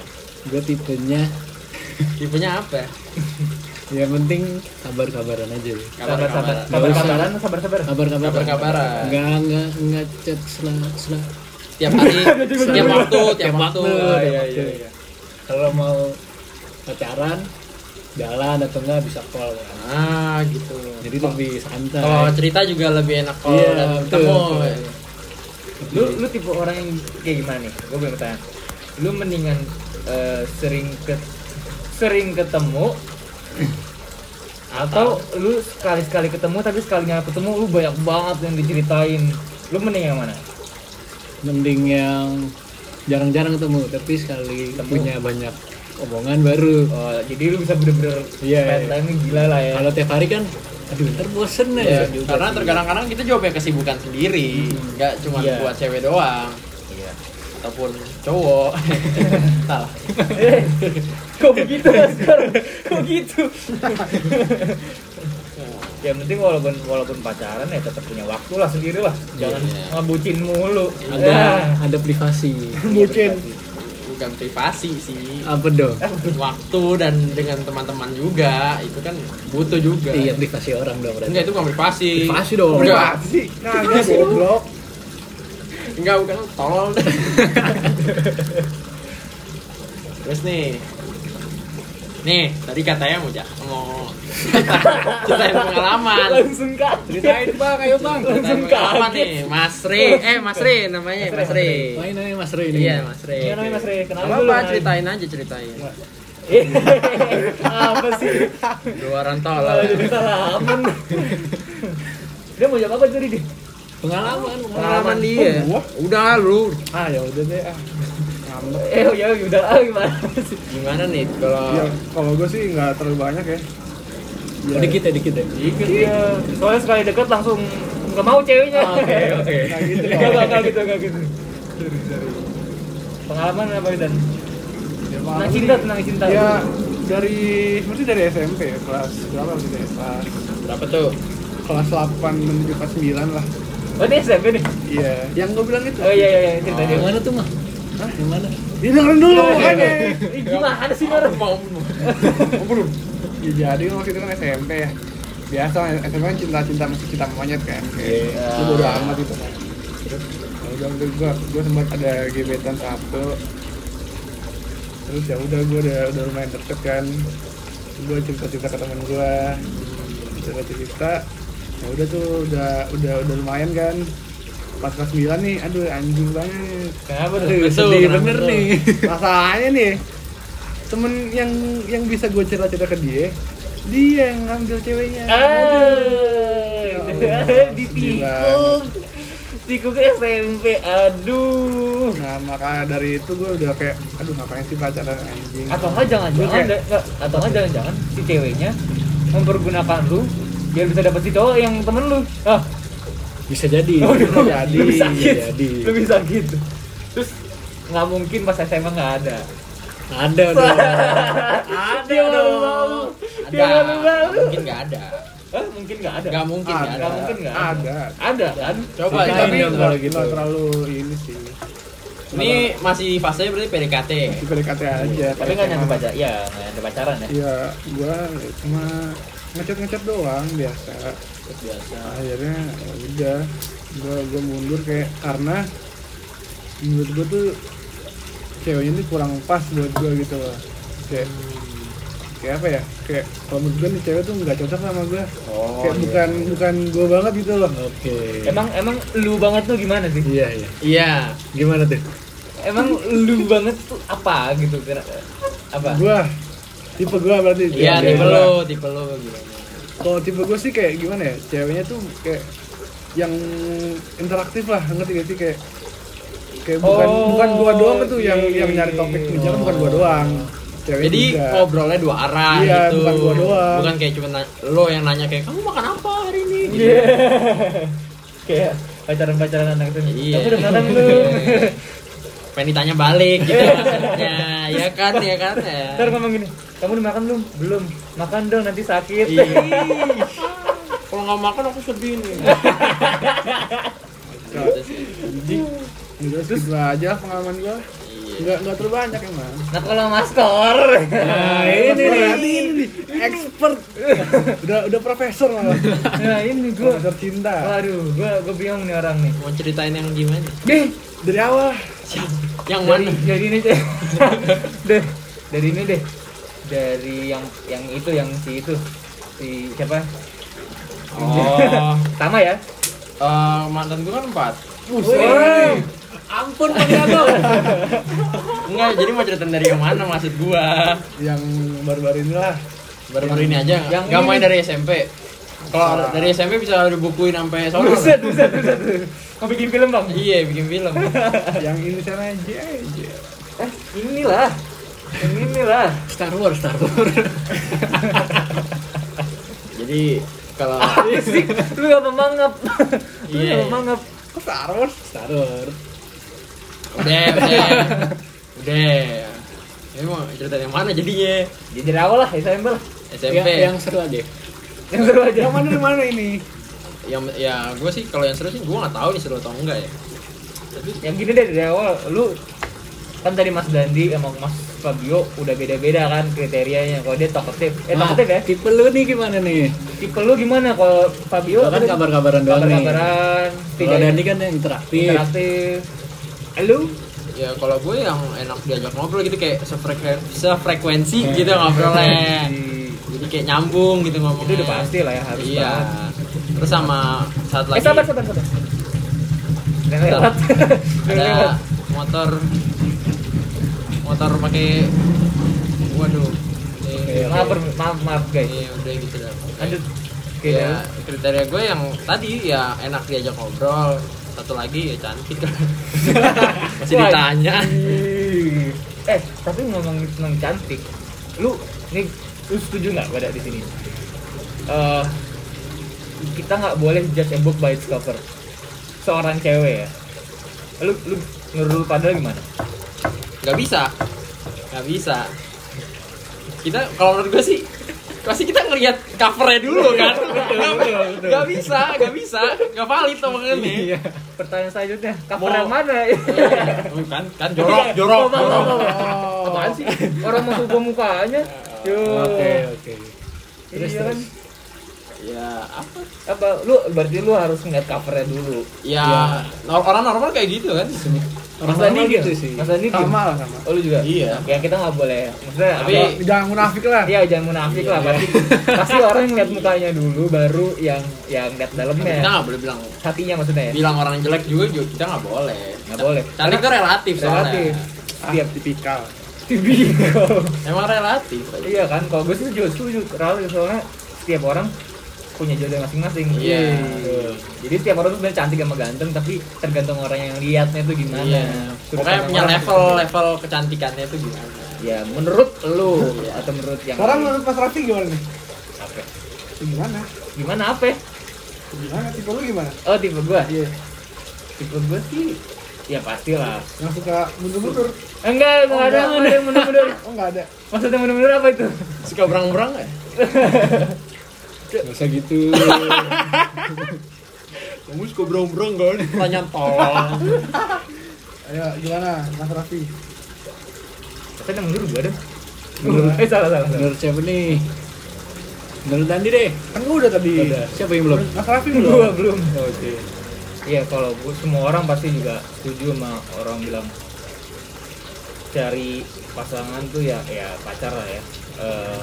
[SPEAKER 5] gue tipenya
[SPEAKER 3] Tipenya apa?
[SPEAKER 5] yang penting kabar-kabaran aja ya.
[SPEAKER 2] Sabar-sabar.
[SPEAKER 5] Nggak usah.
[SPEAKER 2] Sabar-sabaran, sabar-sabar.
[SPEAKER 5] kabar-kabaran
[SPEAKER 3] Kabar-kabaran.
[SPEAKER 5] nggak nggak nggak chat selang selang
[SPEAKER 3] Tiap hari, tiap waktu, tiap waktu.
[SPEAKER 5] Oh, iya,
[SPEAKER 2] iya,
[SPEAKER 5] iya. kalau mau pacaran jalan atau enggak bisa call ya.
[SPEAKER 3] Ah, gitu.
[SPEAKER 5] jadi lebih santai
[SPEAKER 3] Kalau cerita juga lebih enak kalau
[SPEAKER 5] Iya,
[SPEAKER 3] udah
[SPEAKER 5] betul,
[SPEAKER 3] ketemu.
[SPEAKER 5] betul.
[SPEAKER 2] Lu lu tipe orang yang kayak gimana nih? Gue boleh bertanya. Lu mendingan eh, sering ke sering ketemu atau lu sekali-sekali ketemu tapi sekalinya ketemu lu banyak banget yang diceritain. Lu mending yang mana?
[SPEAKER 5] mending yang jarang-jarang ketemu tapi sekali
[SPEAKER 2] Ketemu.
[SPEAKER 5] punya banyak omongan baru
[SPEAKER 2] Oh, jadi lu bisa bener-bener
[SPEAKER 5] Iya,
[SPEAKER 2] spend
[SPEAKER 5] iya.
[SPEAKER 2] time-nya gila lah ya.
[SPEAKER 5] kalau tiap hari kan aduh ntar bosen
[SPEAKER 3] Iya,
[SPEAKER 5] ya
[SPEAKER 3] karena terkadang-kadang kita jawabnya kesibukan sendiri, nggak cuma
[SPEAKER 2] Iya.
[SPEAKER 3] buat cewek doang
[SPEAKER 2] Iya.
[SPEAKER 3] ataupun cowok. Salah.
[SPEAKER 2] Eh, Kok begitu ya sekarang? Kok gitu? ya yang penting walaupun walaupun pacaran ya tetap punya waktu lah sendiri lah. Jangan
[SPEAKER 3] Iya.
[SPEAKER 2] ngebucin mulu.
[SPEAKER 5] ada
[SPEAKER 2] Ya.
[SPEAKER 5] ada privasi
[SPEAKER 4] mungkin
[SPEAKER 3] Bukan privasi sih.
[SPEAKER 5] apa dong
[SPEAKER 3] waktu dan dengan teman-teman juga itu kan butuh juga
[SPEAKER 5] iya privasi orang dong berarti
[SPEAKER 3] enggak itu bukan privasi
[SPEAKER 5] Privasi dong.
[SPEAKER 3] enggak
[SPEAKER 4] sih kagak goblok
[SPEAKER 3] enggak bukan tolol Terus nih Nih, tadi katanya mau ja mau ceritain pengalaman.
[SPEAKER 2] langsung kak
[SPEAKER 5] Ceritain bang, ayo bang.
[SPEAKER 3] Ceritain pengalaman nih, Mas Re. Eh, Mas Re namanya, Mas Re.
[SPEAKER 5] Main aja Mas Rey ini.
[SPEAKER 3] Iya, Mas Re.
[SPEAKER 2] Iya, namanya Mas Re. Kenalin
[SPEAKER 3] Apa
[SPEAKER 2] dulu,
[SPEAKER 3] apa
[SPEAKER 2] Nay.
[SPEAKER 3] ceritain aja ceritain.
[SPEAKER 2] apa sih
[SPEAKER 3] Dua orang tolol.
[SPEAKER 2] Kalau jadi salaman dia mau jawab apa tadi dia
[SPEAKER 5] Pengalaman.
[SPEAKER 3] Pengalaman dia.
[SPEAKER 4] Oh, gua?
[SPEAKER 3] Udah lu
[SPEAKER 4] ah ya udah deh ah ngambek
[SPEAKER 2] eh ya udah ah, gimana sih
[SPEAKER 3] gimana nih
[SPEAKER 4] ya
[SPEAKER 3] kalau
[SPEAKER 4] kalau gue sih nggak terlalu banyak ya ya,
[SPEAKER 5] Dikit ya, dikit ya.
[SPEAKER 2] iya soalnya sekali deket langsung nggak mau ceweknya
[SPEAKER 5] Oke, oke.
[SPEAKER 4] nggak gitu
[SPEAKER 2] Nggak, nggak nggak gitu nggak gitu pengalaman apa dan
[SPEAKER 4] Ya,
[SPEAKER 2] tentang Nah,
[SPEAKER 4] malam ini-
[SPEAKER 2] cinta tentang cinta
[SPEAKER 4] ya dari mesti dari SMP ya kelas berapa sih deh kelas
[SPEAKER 3] berapa tuh?
[SPEAKER 4] kelas 8 menuju kelas 9 lah
[SPEAKER 2] oh ini SMP nih
[SPEAKER 4] iya yang gue bilang itu
[SPEAKER 2] oh iya iya iya cerita dia Iya,
[SPEAKER 5] Yang mana tuh mah? Hah? Yang mana?
[SPEAKER 4] Ih, dengerin dulu makanya
[SPEAKER 2] Ih, gimana sih Mar?
[SPEAKER 3] Mau
[SPEAKER 4] ya, jadi waktu itu kan SMP ya biasa SMP kan cinta-cinta masih cinta monyet kan kayak
[SPEAKER 5] Iya.
[SPEAKER 4] lu bodo amat gitu kan terus ya udah udah gue gue sempat ada gebetan satu terus ya udah gue udah udah lumayan deket kan gue cerita-cerita ke teman gue cerita-cerita ya udah tuh udah udah udah lumayan kan pas kelas 9 nih aduh anjing banget
[SPEAKER 2] Kenapa tuh?
[SPEAKER 5] Aduh,
[SPEAKER 3] Betul,
[SPEAKER 5] sedih
[SPEAKER 3] kenapa
[SPEAKER 5] bener
[SPEAKER 3] tuh?
[SPEAKER 5] nih.
[SPEAKER 4] masalahnya nih temen yang yang bisa gue cerita-cerita ke dia dia yang ngambil ceweknya Ya Allah,
[SPEAKER 2] Ah,
[SPEAKER 4] sedih
[SPEAKER 2] ditikung.
[SPEAKER 4] banget.
[SPEAKER 2] Tikung SMP. Aduh.
[SPEAKER 4] nah maka dari itu gue udah kayak aduh ngapain sih pacaran anjing
[SPEAKER 2] Atau enggak jangan-jangan
[SPEAKER 4] Oke.
[SPEAKER 2] da- enggak, atau enggak jangan-jangan si ceweknya mempergunakan lu biar bisa dapet si cowok yang temen lu. Ah,
[SPEAKER 5] Bisa jadi.
[SPEAKER 2] Aduh, Oh, iya,
[SPEAKER 5] Bisa Iya, jadi. iya,
[SPEAKER 2] lebih sakit.
[SPEAKER 5] jadi.
[SPEAKER 2] lebih sakit. Terus nggak mungkin pas SMA nggak ada.
[SPEAKER 5] Ada dong.
[SPEAKER 2] Dia malu malu. Dia malu
[SPEAKER 3] Ada.
[SPEAKER 2] malu.
[SPEAKER 3] Mungkin nggak ada.
[SPEAKER 2] Ah, mungkin nggak ada.
[SPEAKER 3] Nggak mungkin nggak ada.
[SPEAKER 2] Nggak mungkin nggak
[SPEAKER 4] ada.
[SPEAKER 2] Ada kan?
[SPEAKER 3] Coba
[SPEAKER 5] Ceritain
[SPEAKER 3] tapi
[SPEAKER 5] dong kalau gitu.
[SPEAKER 4] nggak terlalu ini sih
[SPEAKER 3] ini masih fase berarti PDKT.
[SPEAKER 4] di PDKT aja
[SPEAKER 2] Tapi nggak nyampe pacar. Ya, nggak nyampe pacaran ya.
[SPEAKER 4] iya gue cuma ngecat ngecat doang biasa
[SPEAKER 5] Biasa.
[SPEAKER 4] akhirnya ya udah gue gue mundur kayak karena menurut gue tuh ceweknya tuh kurang pas buat gue gitu loh kayak kayak apa ya kayak kalau menurut gue nih cewek tuh nggak cocok sama gue
[SPEAKER 5] Oh.
[SPEAKER 4] kayak
[SPEAKER 5] iya.
[SPEAKER 4] bukan bukan gue banget gitu loh
[SPEAKER 5] Oke. Ya,
[SPEAKER 2] Emang emang lu banget tuh gimana sih?
[SPEAKER 5] Iya iya.
[SPEAKER 3] Iya.
[SPEAKER 5] Gimana tuh?
[SPEAKER 2] Emang lu banget tuh apa gitu? Kira- Apa?
[SPEAKER 4] gue tipe gue berarti
[SPEAKER 3] Iya,
[SPEAKER 4] Tipe
[SPEAKER 3] tipe
[SPEAKER 4] gua.
[SPEAKER 3] lo, tipe lo gimana?
[SPEAKER 4] kalau tipe gue sih kayak gimana ya ceweknya tuh kayak yang interaktif lah ngerti gak sih kayak kayak bukan
[SPEAKER 2] Oh,
[SPEAKER 4] bukan gua doang tuh yang
[SPEAKER 2] iya,
[SPEAKER 4] yang nyari topik pembicaraan bukan gua doang cewek
[SPEAKER 3] Jadi
[SPEAKER 4] juga.
[SPEAKER 3] ngobrolnya dua arah
[SPEAKER 4] Iya,
[SPEAKER 3] gitu.
[SPEAKER 4] bukan gua doang.
[SPEAKER 3] Bukan kayak cuma na- lo yang nanya kayak kamu makan apa hari ini gitu.
[SPEAKER 2] Iya. Kayak pacaran-pacaran anak itu.
[SPEAKER 3] Iya.
[SPEAKER 2] Aku udah matang lu.
[SPEAKER 3] Pengen ditanya balik gitu maksudnya. ya kan, ya kan ya.
[SPEAKER 2] Ntar ngomong gini, kamu udah makan belum? Belum. Makan dong nanti sakit.
[SPEAKER 3] Ih. Kalau nggak makan aku sedih nih. Gitu sih.
[SPEAKER 4] Udah, skip lah Gitu, aja pengalaman
[SPEAKER 3] Iya.
[SPEAKER 4] gua nggak nggak terlalu banyak emang
[SPEAKER 2] Nah kalau maskor.
[SPEAKER 4] nah ini nih ini nih expert udah udah profesor malah
[SPEAKER 2] Nah ini gua.
[SPEAKER 4] profesor cinta
[SPEAKER 2] Waduh, gua gua bingung nih orang nih.
[SPEAKER 3] Mau ceritain yang gimana?
[SPEAKER 2] Deh,
[SPEAKER 4] dari awal
[SPEAKER 3] Yang
[SPEAKER 2] dari,
[SPEAKER 3] mana?
[SPEAKER 2] dari ini deh. deh, dari ini deh. Dari yang yang itu yang si itu si siapa?
[SPEAKER 3] Oh,
[SPEAKER 2] Tama ya?
[SPEAKER 3] eh, mantan gue kan empat.
[SPEAKER 2] Wih.
[SPEAKER 5] Ampun Pandiano.
[SPEAKER 3] Enggak, jadi mau ceritain dari yang mana maksud gua?
[SPEAKER 4] yang baru-baru inilah
[SPEAKER 3] Baru-baru ini aja
[SPEAKER 2] yang
[SPEAKER 3] nggak
[SPEAKER 2] ini. kan
[SPEAKER 3] main dari SMP. Kalau
[SPEAKER 4] Salah.
[SPEAKER 3] dari SMP bisa dibukuin sampai sore.
[SPEAKER 2] Buset, buset, buset. Mau bikin film, Bang?
[SPEAKER 3] Iya, bikin film.
[SPEAKER 4] yang ini sana aja aja
[SPEAKER 2] Eh, inilah. Yang inilah.
[SPEAKER 5] Star Wars, Star Wars.
[SPEAKER 3] Jadi kalau
[SPEAKER 2] Apa sih? Lu gak memangap. Lu
[SPEAKER 3] Iya.
[SPEAKER 2] gak memangap.
[SPEAKER 4] Kok Star Wars
[SPEAKER 5] Star Wars.
[SPEAKER 3] udah, udah. Udah. Ini mau cerita yang mana jadinya?
[SPEAKER 2] Ya, dari awal lah, SMP lah.
[SPEAKER 3] SMP.
[SPEAKER 5] Ya,
[SPEAKER 3] yang
[SPEAKER 5] yang seru aja.
[SPEAKER 2] Eh, Yang seru aja.
[SPEAKER 4] yang mana yang mana ini
[SPEAKER 3] yang ya gue sih kalau yang seru sih gue nggak tahu nih seru atau enggak ya.
[SPEAKER 2] Yang gini deh, dari awal. Lu kan tadi Mas Dandi sama Mas Fabio udah beda-beda kan kriterianya. Kalau dia talkative. Eh,
[SPEAKER 5] Nah,
[SPEAKER 2] talkative ya?
[SPEAKER 5] Tipe lu nih gimana nih?
[SPEAKER 2] Tipe lu gimana kalau Fabio?
[SPEAKER 5] Lu kan
[SPEAKER 2] tadi-
[SPEAKER 5] kabar-kabaran doang nih.
[SPEAKER 2] Kabar-kabaran.
[SPEAKER 5] Kalau
[SPEAKER 2] Tidak
[SPEAKER 5] Dandi kan yang interaktif.
[SPEAKER 2] interaktif. Lu?
[SPEAKER 3] ya kalau gue yang enak diajak ngobrol gitu kayak sefrekuen-
[SPEAKER 2] Iya.
[SPEAKER 3] sefrekuensi gitu ngobrolnya jadi kayak nyambung gitu
[SPEAKER 2] Itu
[SPEAKER 3] ngomongnya
[SPEAKER 2] udah pasti lah ya, harus
[SPEAKER 3] iya terus sama saat lagi
[SPEAKER 2] Eh sabar sabar sabar. Udah lewat. Udah lewat.
[SPEAKER 3] ada motor motor pakai waduh
[SPEAKER 2] Oke,
[SPEAKER 3] Eh,
[SPEAKER 2] Maaf ber- maaf maaf guys.
[SPEAKER 3] iya udah gitu dah
[SPEAKER 2] Lanjut. Oke.
[SPEAKER 3] ya kriteria gue yang tadi ya enak diajak ngobrol satu lagi ya cantik masih
[SPEAKER 2] Wah,
[SPEAKER 3] ditanya
[SPEAKER 2] ih. Eh, tapi ngomongin tentang cantik. Lu nih lu setuju nggak pada di sini? Eh kita nggak boleh judge a book by its cover. Seorang cewek ya. Lu lu menurut lu pada gimana?
[SPEAKER 3] nggak bisa nggak bisa kita kalau menurut gue sih pasti kita ngelihat covernya dulu
[SPEAKER 2] Iya,
[SPEAKER 3] kan nggak bisa nggak bisa nggak valid omongan nih
[SPEAKER 2] Iya. Pertanyaan selanjutnya, cover
[SPEAKER 3] Mau-
[SPEAKER 2] yang mana?
[SPEAKER 3] Oh, kan kan
[SPEAKER 2] Iya.
[SPEAKER 3] jorok jorok
[SPEAKER 2] Mau, mau, mau, mau. Oh. Apaan sih? Orang mau ubah mukanya. Yo.
[SPEAKER 5] Oke, oke.
[SPEAKER 2] Terus, iya kan?
[SPEAKER 3] ya apa
[SPEAKER 2] Apa lu berarti lu harus ngeliat covernya dulu.
[SPEAKER 3] ya nor- orang normal kayak gitu kan
[SPEAKER 2] Mas
[SPEAKER 4] Orang-orang
[SPEAKER 2] Dandi
[SPEAKER 4] mah
[SPEAKER 2] gitu
[SPEAKER 4] gitu sih.
[SPEAKER 2] Mas Dandi
[SPEAKER 4] sama lah sama
[SPEAKER 2] Oh lu juga?
[SPEAKER 3] Iya.
[SPEAKER 2] Ya kita nggak boleh. Maksudnya
[SPEAKER 3] Tapi-
[SPEAKER 2] apa-
[SPEAKER 4] jangan munafik lah
[SPEAKER 2] Iya jangan munafik lah pasti. pasti orang ngeliat mukanya dulu, baru yang yang lihat dalamnya.
[SPEAKER 3] kita nggak boleh bilang
[SPEAKER 2] Hatinya maksudnya ya.
[SPEAKER 3] bilang orang jelek juga juga kita nggak boleh
[SPEAKER 2] Nggak boleh.
[SPEAKER 3] cantik itu relatif soalnya
[SPEAKER 2] Relatif.
[SPEAKER 4] ah,
[SPEAKER 2] Tiap
[SPEAKER 4] tipikal
[SPEAKER 2] tipikal.
[SPEAKER 3] emang relatif aja.
[SPEAKER 2] Iya kan, kalau gue sih setuju, setuju. Karena soalnya setiap orang punya jodoh masing-masing.
[SPEAKER 3] Iya.
[SPEAKER 2] Betul. Jadi setiap orang tuh sebenarnya cantik sama ganteng, tapi tergantung orang yang liatnya tuh gimana.
[SPEAKER 3] Iya.
[SPEAKER 2] Sudut
[SPEAKER 3] Pokoknya
[SPEAKER 2] pandang
[SPEAKER 3] punya
[SPEAKER 2] orang.
[SPEAKER 3] level level kecantikannya itu gimana?
[SPEAKER 2] Ya, menurut lu atau menurut yang
[SPEAKER 4] sekarang menurut Mas Raffi gimana nih
[SPEAKER 2] apa?
[SPEAKER 4] gimana
[SPEAKER 2] Gimana apa? ya?
[SPEAKER 4] gimana tipe lu gimana
[SPEAKER 2] Oh, tipe gua.
[SPEAKER 4] iya
[SPEAKER 2] Tipe gua sih ya pastilah.
[SPEAKER 4] yang suka mundur-mundur
[SPEAKER 2] Enggak, Oh, enggak ada
[SPEAKER 4] enggak.
[SPEAKER 2] enggak ada yang mundur-mundur.
[SPEAKER 4] oh nggak ada
[SPEAKER 2] Maksudnya mundur-mundur apa itu?
[SPEAKER 3] Suka berang-berang nggak?
[SPEAKER 5] Gak usah gitu.
[SPEAKER 3] Kamu suka berang-berang kan? Pertanyaan tolong.
[SPEAKER 4] ayo gimana Mas Raffi
[SPEAKER 2] Maksudnya mundur gua dong. Eh salah salah. salah.
[SPEAKER 5] Menurut siapa nih? Menurut Andi deh.
[SPEAKER 4] kan gua udah tadi
[SPEAKER 5] Udah. Siapa yang belum?
[SPEAKER 4] Mas Raffi
[SPEAKER 2] Gua
[SPEAKER 4] belum
[SPEAKER 2] belum. Oh,
[SPEAKER 5] Oke.
[SPEAKER 2] Iya kalau gua, semua orang pasti juga setuju sama orang bilang cari pasangan tuh ya ya pacar lah ya Eh,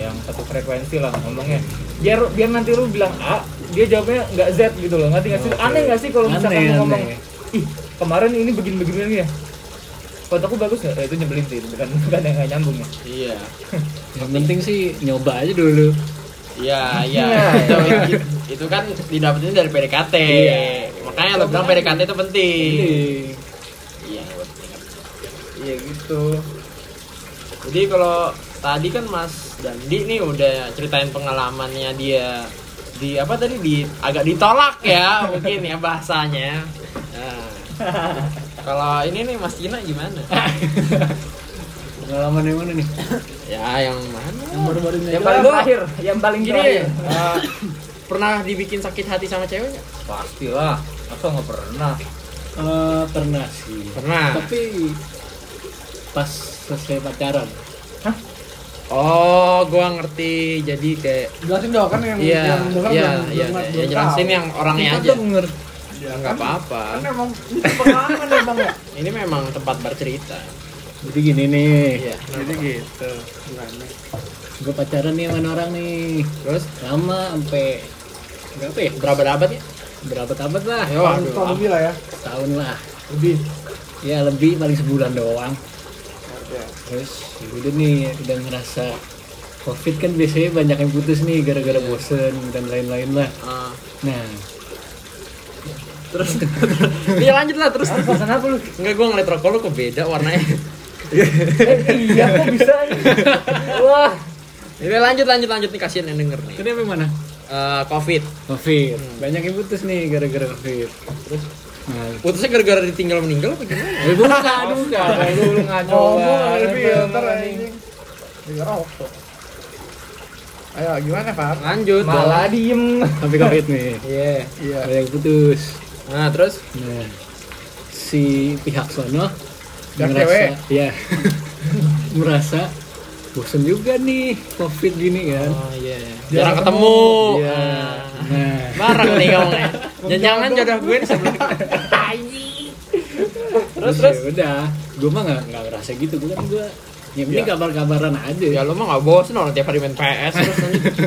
[SPEAKER 2] yang satu frekuensi lah ngomongnya biar biar nanti lu bilang A dia jawabnya nggak Z gitu loh ngerti nggak sih
[SPEAKER 5] Oke.
[SPEAKER 2] aneh nggak sih kalau misalkan
[SPEAKER 5] Aneh,
[SPEAKER 2] lu ngomong
[SPEAKER 5] aneh.
[SPEAKER 2] ih kemarin ini begini begini begini ya fotoku bagus nggak ya, itu nyebelin sih itu bukan bukan yang nggak nyambung ya
[SPEAKER 3] Iya.
[SPEAKER 5] Yang penting sih nyoba aja dulu.
[SPEAKER 3] Iya, iya.
[SPEAKER 2] Iya.
[SPEAKER 3] Itu, itu kan didapetin dari PDKT.
[SPEAKER 5] Iya.
[SPEAKER 3] Makanya lo bilang PDKT itu penting.
[SPEAKER 5] Ini.
[SPEAKER 3] Iya, penting.
[SPEAKER 2] iya gitu
[SPEAKER 3] Jadi kalau tadi kan Mas Dandi nih udah ceritain pengalamannya dia di apa tadi di agak ditolak ya mungkin ya bahasanya. Nah, kalau ini nih Mas Cina gimana?
[SPEAKER 5] Pengalaman yang mana nih?
[SPEAKER 3] ya yang mana?
[SPEAKER 5] Yang Eh, baru-baru ini.
[SPEAKER 2] yang
[SPEAKER 5] aja.
[SPEAKER 2] paling
[SPEAKER 3] Gua-
[SPEAKER 2] terakhir yang paling
[SPEAKER 3] Gini,
[SPEAKER 2] terakhir
[SPEAKER 3] eh, pernah dibikin sakit hati sama ceweknya?
[SPEAKER 2] pastilah masa nggak pernah
[SPEAKER 5] Eh, pernah sih.
[SPEAKER 2] Nah.
[SPEAKER 3] Pernah.
[SPEAKER 5] Tapi pas selesai pacaran.
[SPEAKER 3] Oh, gua ngerti. Jadi kayak
[SPEAKER 4] jelasin dong kan yang
[SPEAKER 3] Iya,
[SPEAKER 4] yang denger
[SPEAKER 3] iya,
[SPEAKER 4] belum-
[SPEAKER 3] iya.
[SPEAKER 4] belum-
[SPEAKER 3] Ya
[SPEAKER 4] belum
[SPEAKER 3] jelasin
[SPEAKER 4] tahu.
[SPEAKER 3] yang orangnya
[SPEAKER 5] Kita
[SPEAKER 3] aja.
[SPEAKER 5] tuh ngerti.
[SPEAKER 4] Ya,
[SPEAKER 3] Enggak
[SPEAKER 4] kan?
[SPEAKER 3] apa-apa.
[SPEAKER 4] kan emang ini pengalaman ya bang ya
[SPEAKER 3] Ini memang tempat bercerita.
[SPEAKER 5] Jadi gini nih.
[SPEAKER 3] Iya.
[SPEAKER 4] jadi gitu gimana
[SPEAKER 5] Gue pacaran nih sama orang nih.
[SPEAKER 3] Terus
[SPEAKER 5] Lama sampai berapa ya?
[SPEAKER 3] berapa abad ya?
[SPEAKER 5] Berabad-abad lah.
[SPEAKER 3] Ya, waduh,
[SPEAKER 4] Tahun lebih lah ya
[SPEAKER 5] Setahun lah.
[SPEAKER 4] lebih
[SPEAKER 5] Ya lebih paling sebulan doang.
[SPEAKER 4] ya
[SPEAKER 5] Terus ya udah nih udah ngerasa covid kan biasanya banyak yang putus nih gara-gara
[SPEAKER 3] Iya.
[SPEAKER 5] bosen dan lain-lain lah.
[SPEAKER 3] Ah.
[SPEAKER 5] Nah,
[SPEAKER 3] terus iya lanjut lah terus
[SPEAKER 2] pesan apa lu
[SPEAKER 3] enggak gua ngeliat rokok lu kok beda warnanya
[SPEAKER 2] eh, iya kok bisa nih? wah
[SPEAKER 3] ini lanjut lanjut lanjut nih kasihan yang denger nih
[SPEAKER 5] kenapa mana?
[SPEAKER 3] Eh, covid
[SPEAKER 5] Covid. Banyak yang putus nih gara-gara covid.
[SPEAKER 3] Hmm. Terus?
[SPEAKER 5] Nah,
[SPEAKER 3] putusnya gara-gara ditinggal meninggal apa gimana
[SPEAKER 5] eh, bukan, bukan.
[SPEAKER 2] Kalau lu ngaco
[SPEAKER 4] ngomong
[SPEAKER 2] banget,
[SPEAKER 4] ada filter
[SPEAKER 2] Bang.
[SPEAKER 4] anjing dengar rokok ayo gimana pak
[SPEAKER 3] lanjut
[SPEAKER 2] malah diem
[SPEAKER 5] Sampai covid nih.
[SPEAKER 3] iya
[SPEAKER 4] iya
[SPEAKER 5] Ada yang putus.
[SPEAKER 3] nah terus
[SPEAKER 5] Nah, si pihak sono
[SPEAKER 4] Pihak cewek.
[SPEAKER 5] merasa, ya, merasa bosen juga nih covid gini kan.
[SPEAKER 3] oh iya jarang ketemu
[SPEAKER 5] Iya.
[SPEAKER 3] Ah.
[SPEAKER 5] Nah,
[SPEAKER 3] bareng nih kamu ya. jangan jodoh gue di sebelah Terus,
[SPEAKER 5] terus
[SPEAKER 3] terus.
[SPEAKER 5] terus udah gue mah nggak nggak ngerasa gitu gue kan gue yang penting
[SPEAKER 3] Ya.
[SPEAKER 5] kabar-kabaran aja
[SPEAKER 3] ya lo mah nggak bosen orang tiap hari main PS terus anjing.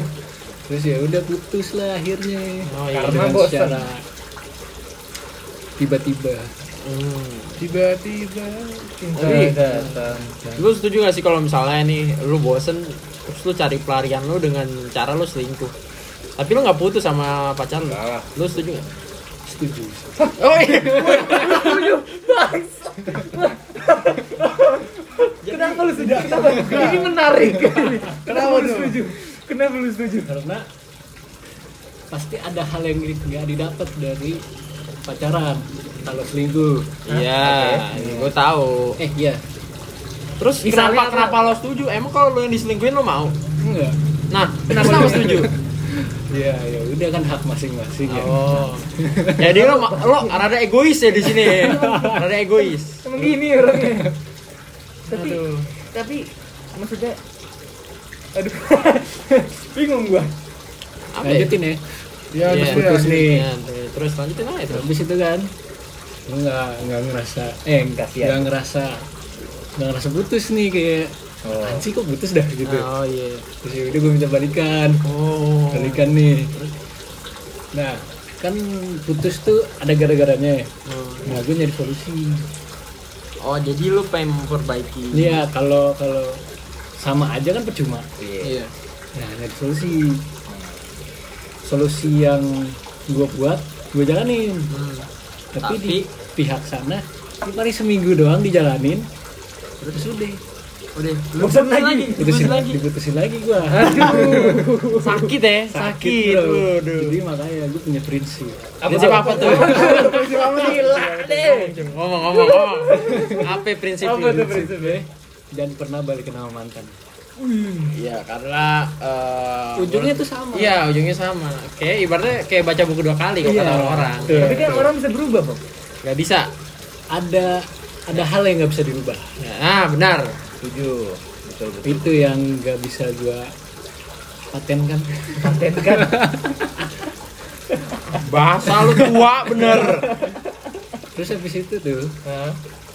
[SPEAKER 5] terus ya udah putus lah akhirnya
[SPEAKER 3] oh, iya.
[SPEAKER 2] Karena
[SPEAKER 5] Dengan
[SPEAKER 2] bosen.
[SPEAKER 5] secara tiba-tiba
[SPEAKER 3] Hmm.
[SPEAKER 4] tiba-tiba
[SPEAKER 2] Cinta
[SPEAKER 3] Tapi-
[SPEAKER 2] datang.
[SPEAKER 3] Lu setuju gak sih kalau misalnya nih lu bosen terus lu cari pelarian lu dengan cara lu selingkuh. Tapi lu nggak putus sama pacar lu.
[SPEAKER 2] Enggak lah.
[SPEAKER 3] Lu setuju gak?
[SPEAKER 5] setuju
[SPEAKER 3] Oh iya.
[SPEAKER 2] Kenapa lu setuju? Kenapa? Ini menarik. Kenapa lu
[SPEAKER 4] tuh?
[SPEAKER 2] setuju? Kenapa lu setuju?
[SPEAKER 5] karena pasti ada hal yang nggak didapat dari pacaran kalau selingkuh
[SPEAKER 3] Iya, gue tahu.
[SPEAKER 5] eh iya
[SPEAKER 3] Terus
[SPEAKER 2] Misalnya
[SPEAKER 3] kenapa
[SPEAKER 2] apa?
[SPEAKER 3] kenapa lo setuju? Emang kalau lo yang diselingkuhin lo mau?
[SPEAKER 5] enggak
[SPEAKER 3] Nah, kenapa lo setuju?
[SPEAKER 5] ya ya udah kan hak masing-masing ya
[SPEAKER 3] Oh. Jadi lo ma- lo rada egois ya di sini. ya? Rada egois.
[SPEAKER 2] Emang gini orangnya. Tapi tapi maksudnya aduh bingung gua.
[SPEAKER 3] Apa ya?
[SPEAKER 5] lanjutin ya
[SPEAKER 4] ya
[SPEAKER 3] Iya.
[SPEAKER 4] terus ya
[SPEAKER 5] Terus nih.
[SPEAKER 3] Ya, terus lanjutin aja terus.
[SPEAKER 5] habis itu kan lu nggak nggak ngerasa eh
[SPEAKER 3] iya.
[SPEAKER 2] Kasihan.
[SPEAKER 5] nggak ngerasa nggak ngerasa putus nih kayak
[SPEAKER 2] Oh.
[SPEAKER 5] apaan sih kok putus dah gitu
[SPEAKER 3] Oh iya.
[SPEAKER 5] terus yaudah gue minta balikan
[SPEAKER 3] Oh.
[SPEAKER 5] balikan nih nah kan putus tuh ada gara-garanya ya
[SPEAKER 3] Hmm.
[SPEAKER 5] nah gue nyari solusi
[SPEAKER 3] Oh jadi lu pengen memperbaiki.
[SPEAKER 5] iya kalau kalau sama aja kan percuma
[SPEAKER 2] Iya.
[SPEAKER 5] nah nyari solusi solusi yang gue buat gue jalanin
[SPEAKER 3] Hmm.
[SPEAKER 5] tapi,
[SPEAKER 3] Tapi-
[SPEAKER 5] di pihak sana ini paling seminggu doang dijalanin terus udah
[SPEAKER 3] Udah. lu
[SPEAKER 2] Bosan
[SPEAKER 3] putusin
[SPEAKER 2] lagi.
[SPEAKER 5] diputusin
[SPEAKER 3] putusin
[SPEAKER 5] lagi
[SPEAKER 3] lagi.
[SPEAKER 5] diputusin lagi gua
[SPEAKER 3] Sakit ya. Sakit.
[SPEAKER 5] bro.
[SPEAKER 3] Waduh.
[SPEAKER 5] jadi makanya gue punya prinsip
[SPEAKER 3] Prinsip apa tuh?
[SPEAKER 2] Gila deh.
[SPEAKER 3] Ngomong ngomong ngomong. Apa prinsip
[SPEAKER 2] Apa tuh
[SPEAKER 3] lu?
[SPEAKER 2] prinsipnya?
[SPEAKER 5] dan pernah balikin sama mantan
[SPEAKER 3] Iya karena eh,
[SPEAKER 5] ujungnya
[SPEAKER 3] menurut-
[SPEAKER 5] tuh sama
[SPEAKER 3] Iya ujungnya sama. Kayak ibaratnya kayak baca buku dua kali kalau
[SPEAKER 5] Iya.
[SPEAKER 3] kata orang.
[SPEAKER 5] Tuh.
[SPEAKER 2] Tapi kan orang bisa berubah, Bang.
[SPEAKER 3] Gak bisa.
[SPEAKER 5] ada ada hal yang nggak bisa dirubah
[SPEAKER 3] Nah benar.
[SPEAKER 2] Setuju. Betul betul.
[SPEAKER 5] itu yang nggak bisa gua patenkan
[SPEAKER 2] Paten kan.
[SPEAKER 3] Bahasa lu tua bener.
[SPEAKER 5] terus habis itu tuh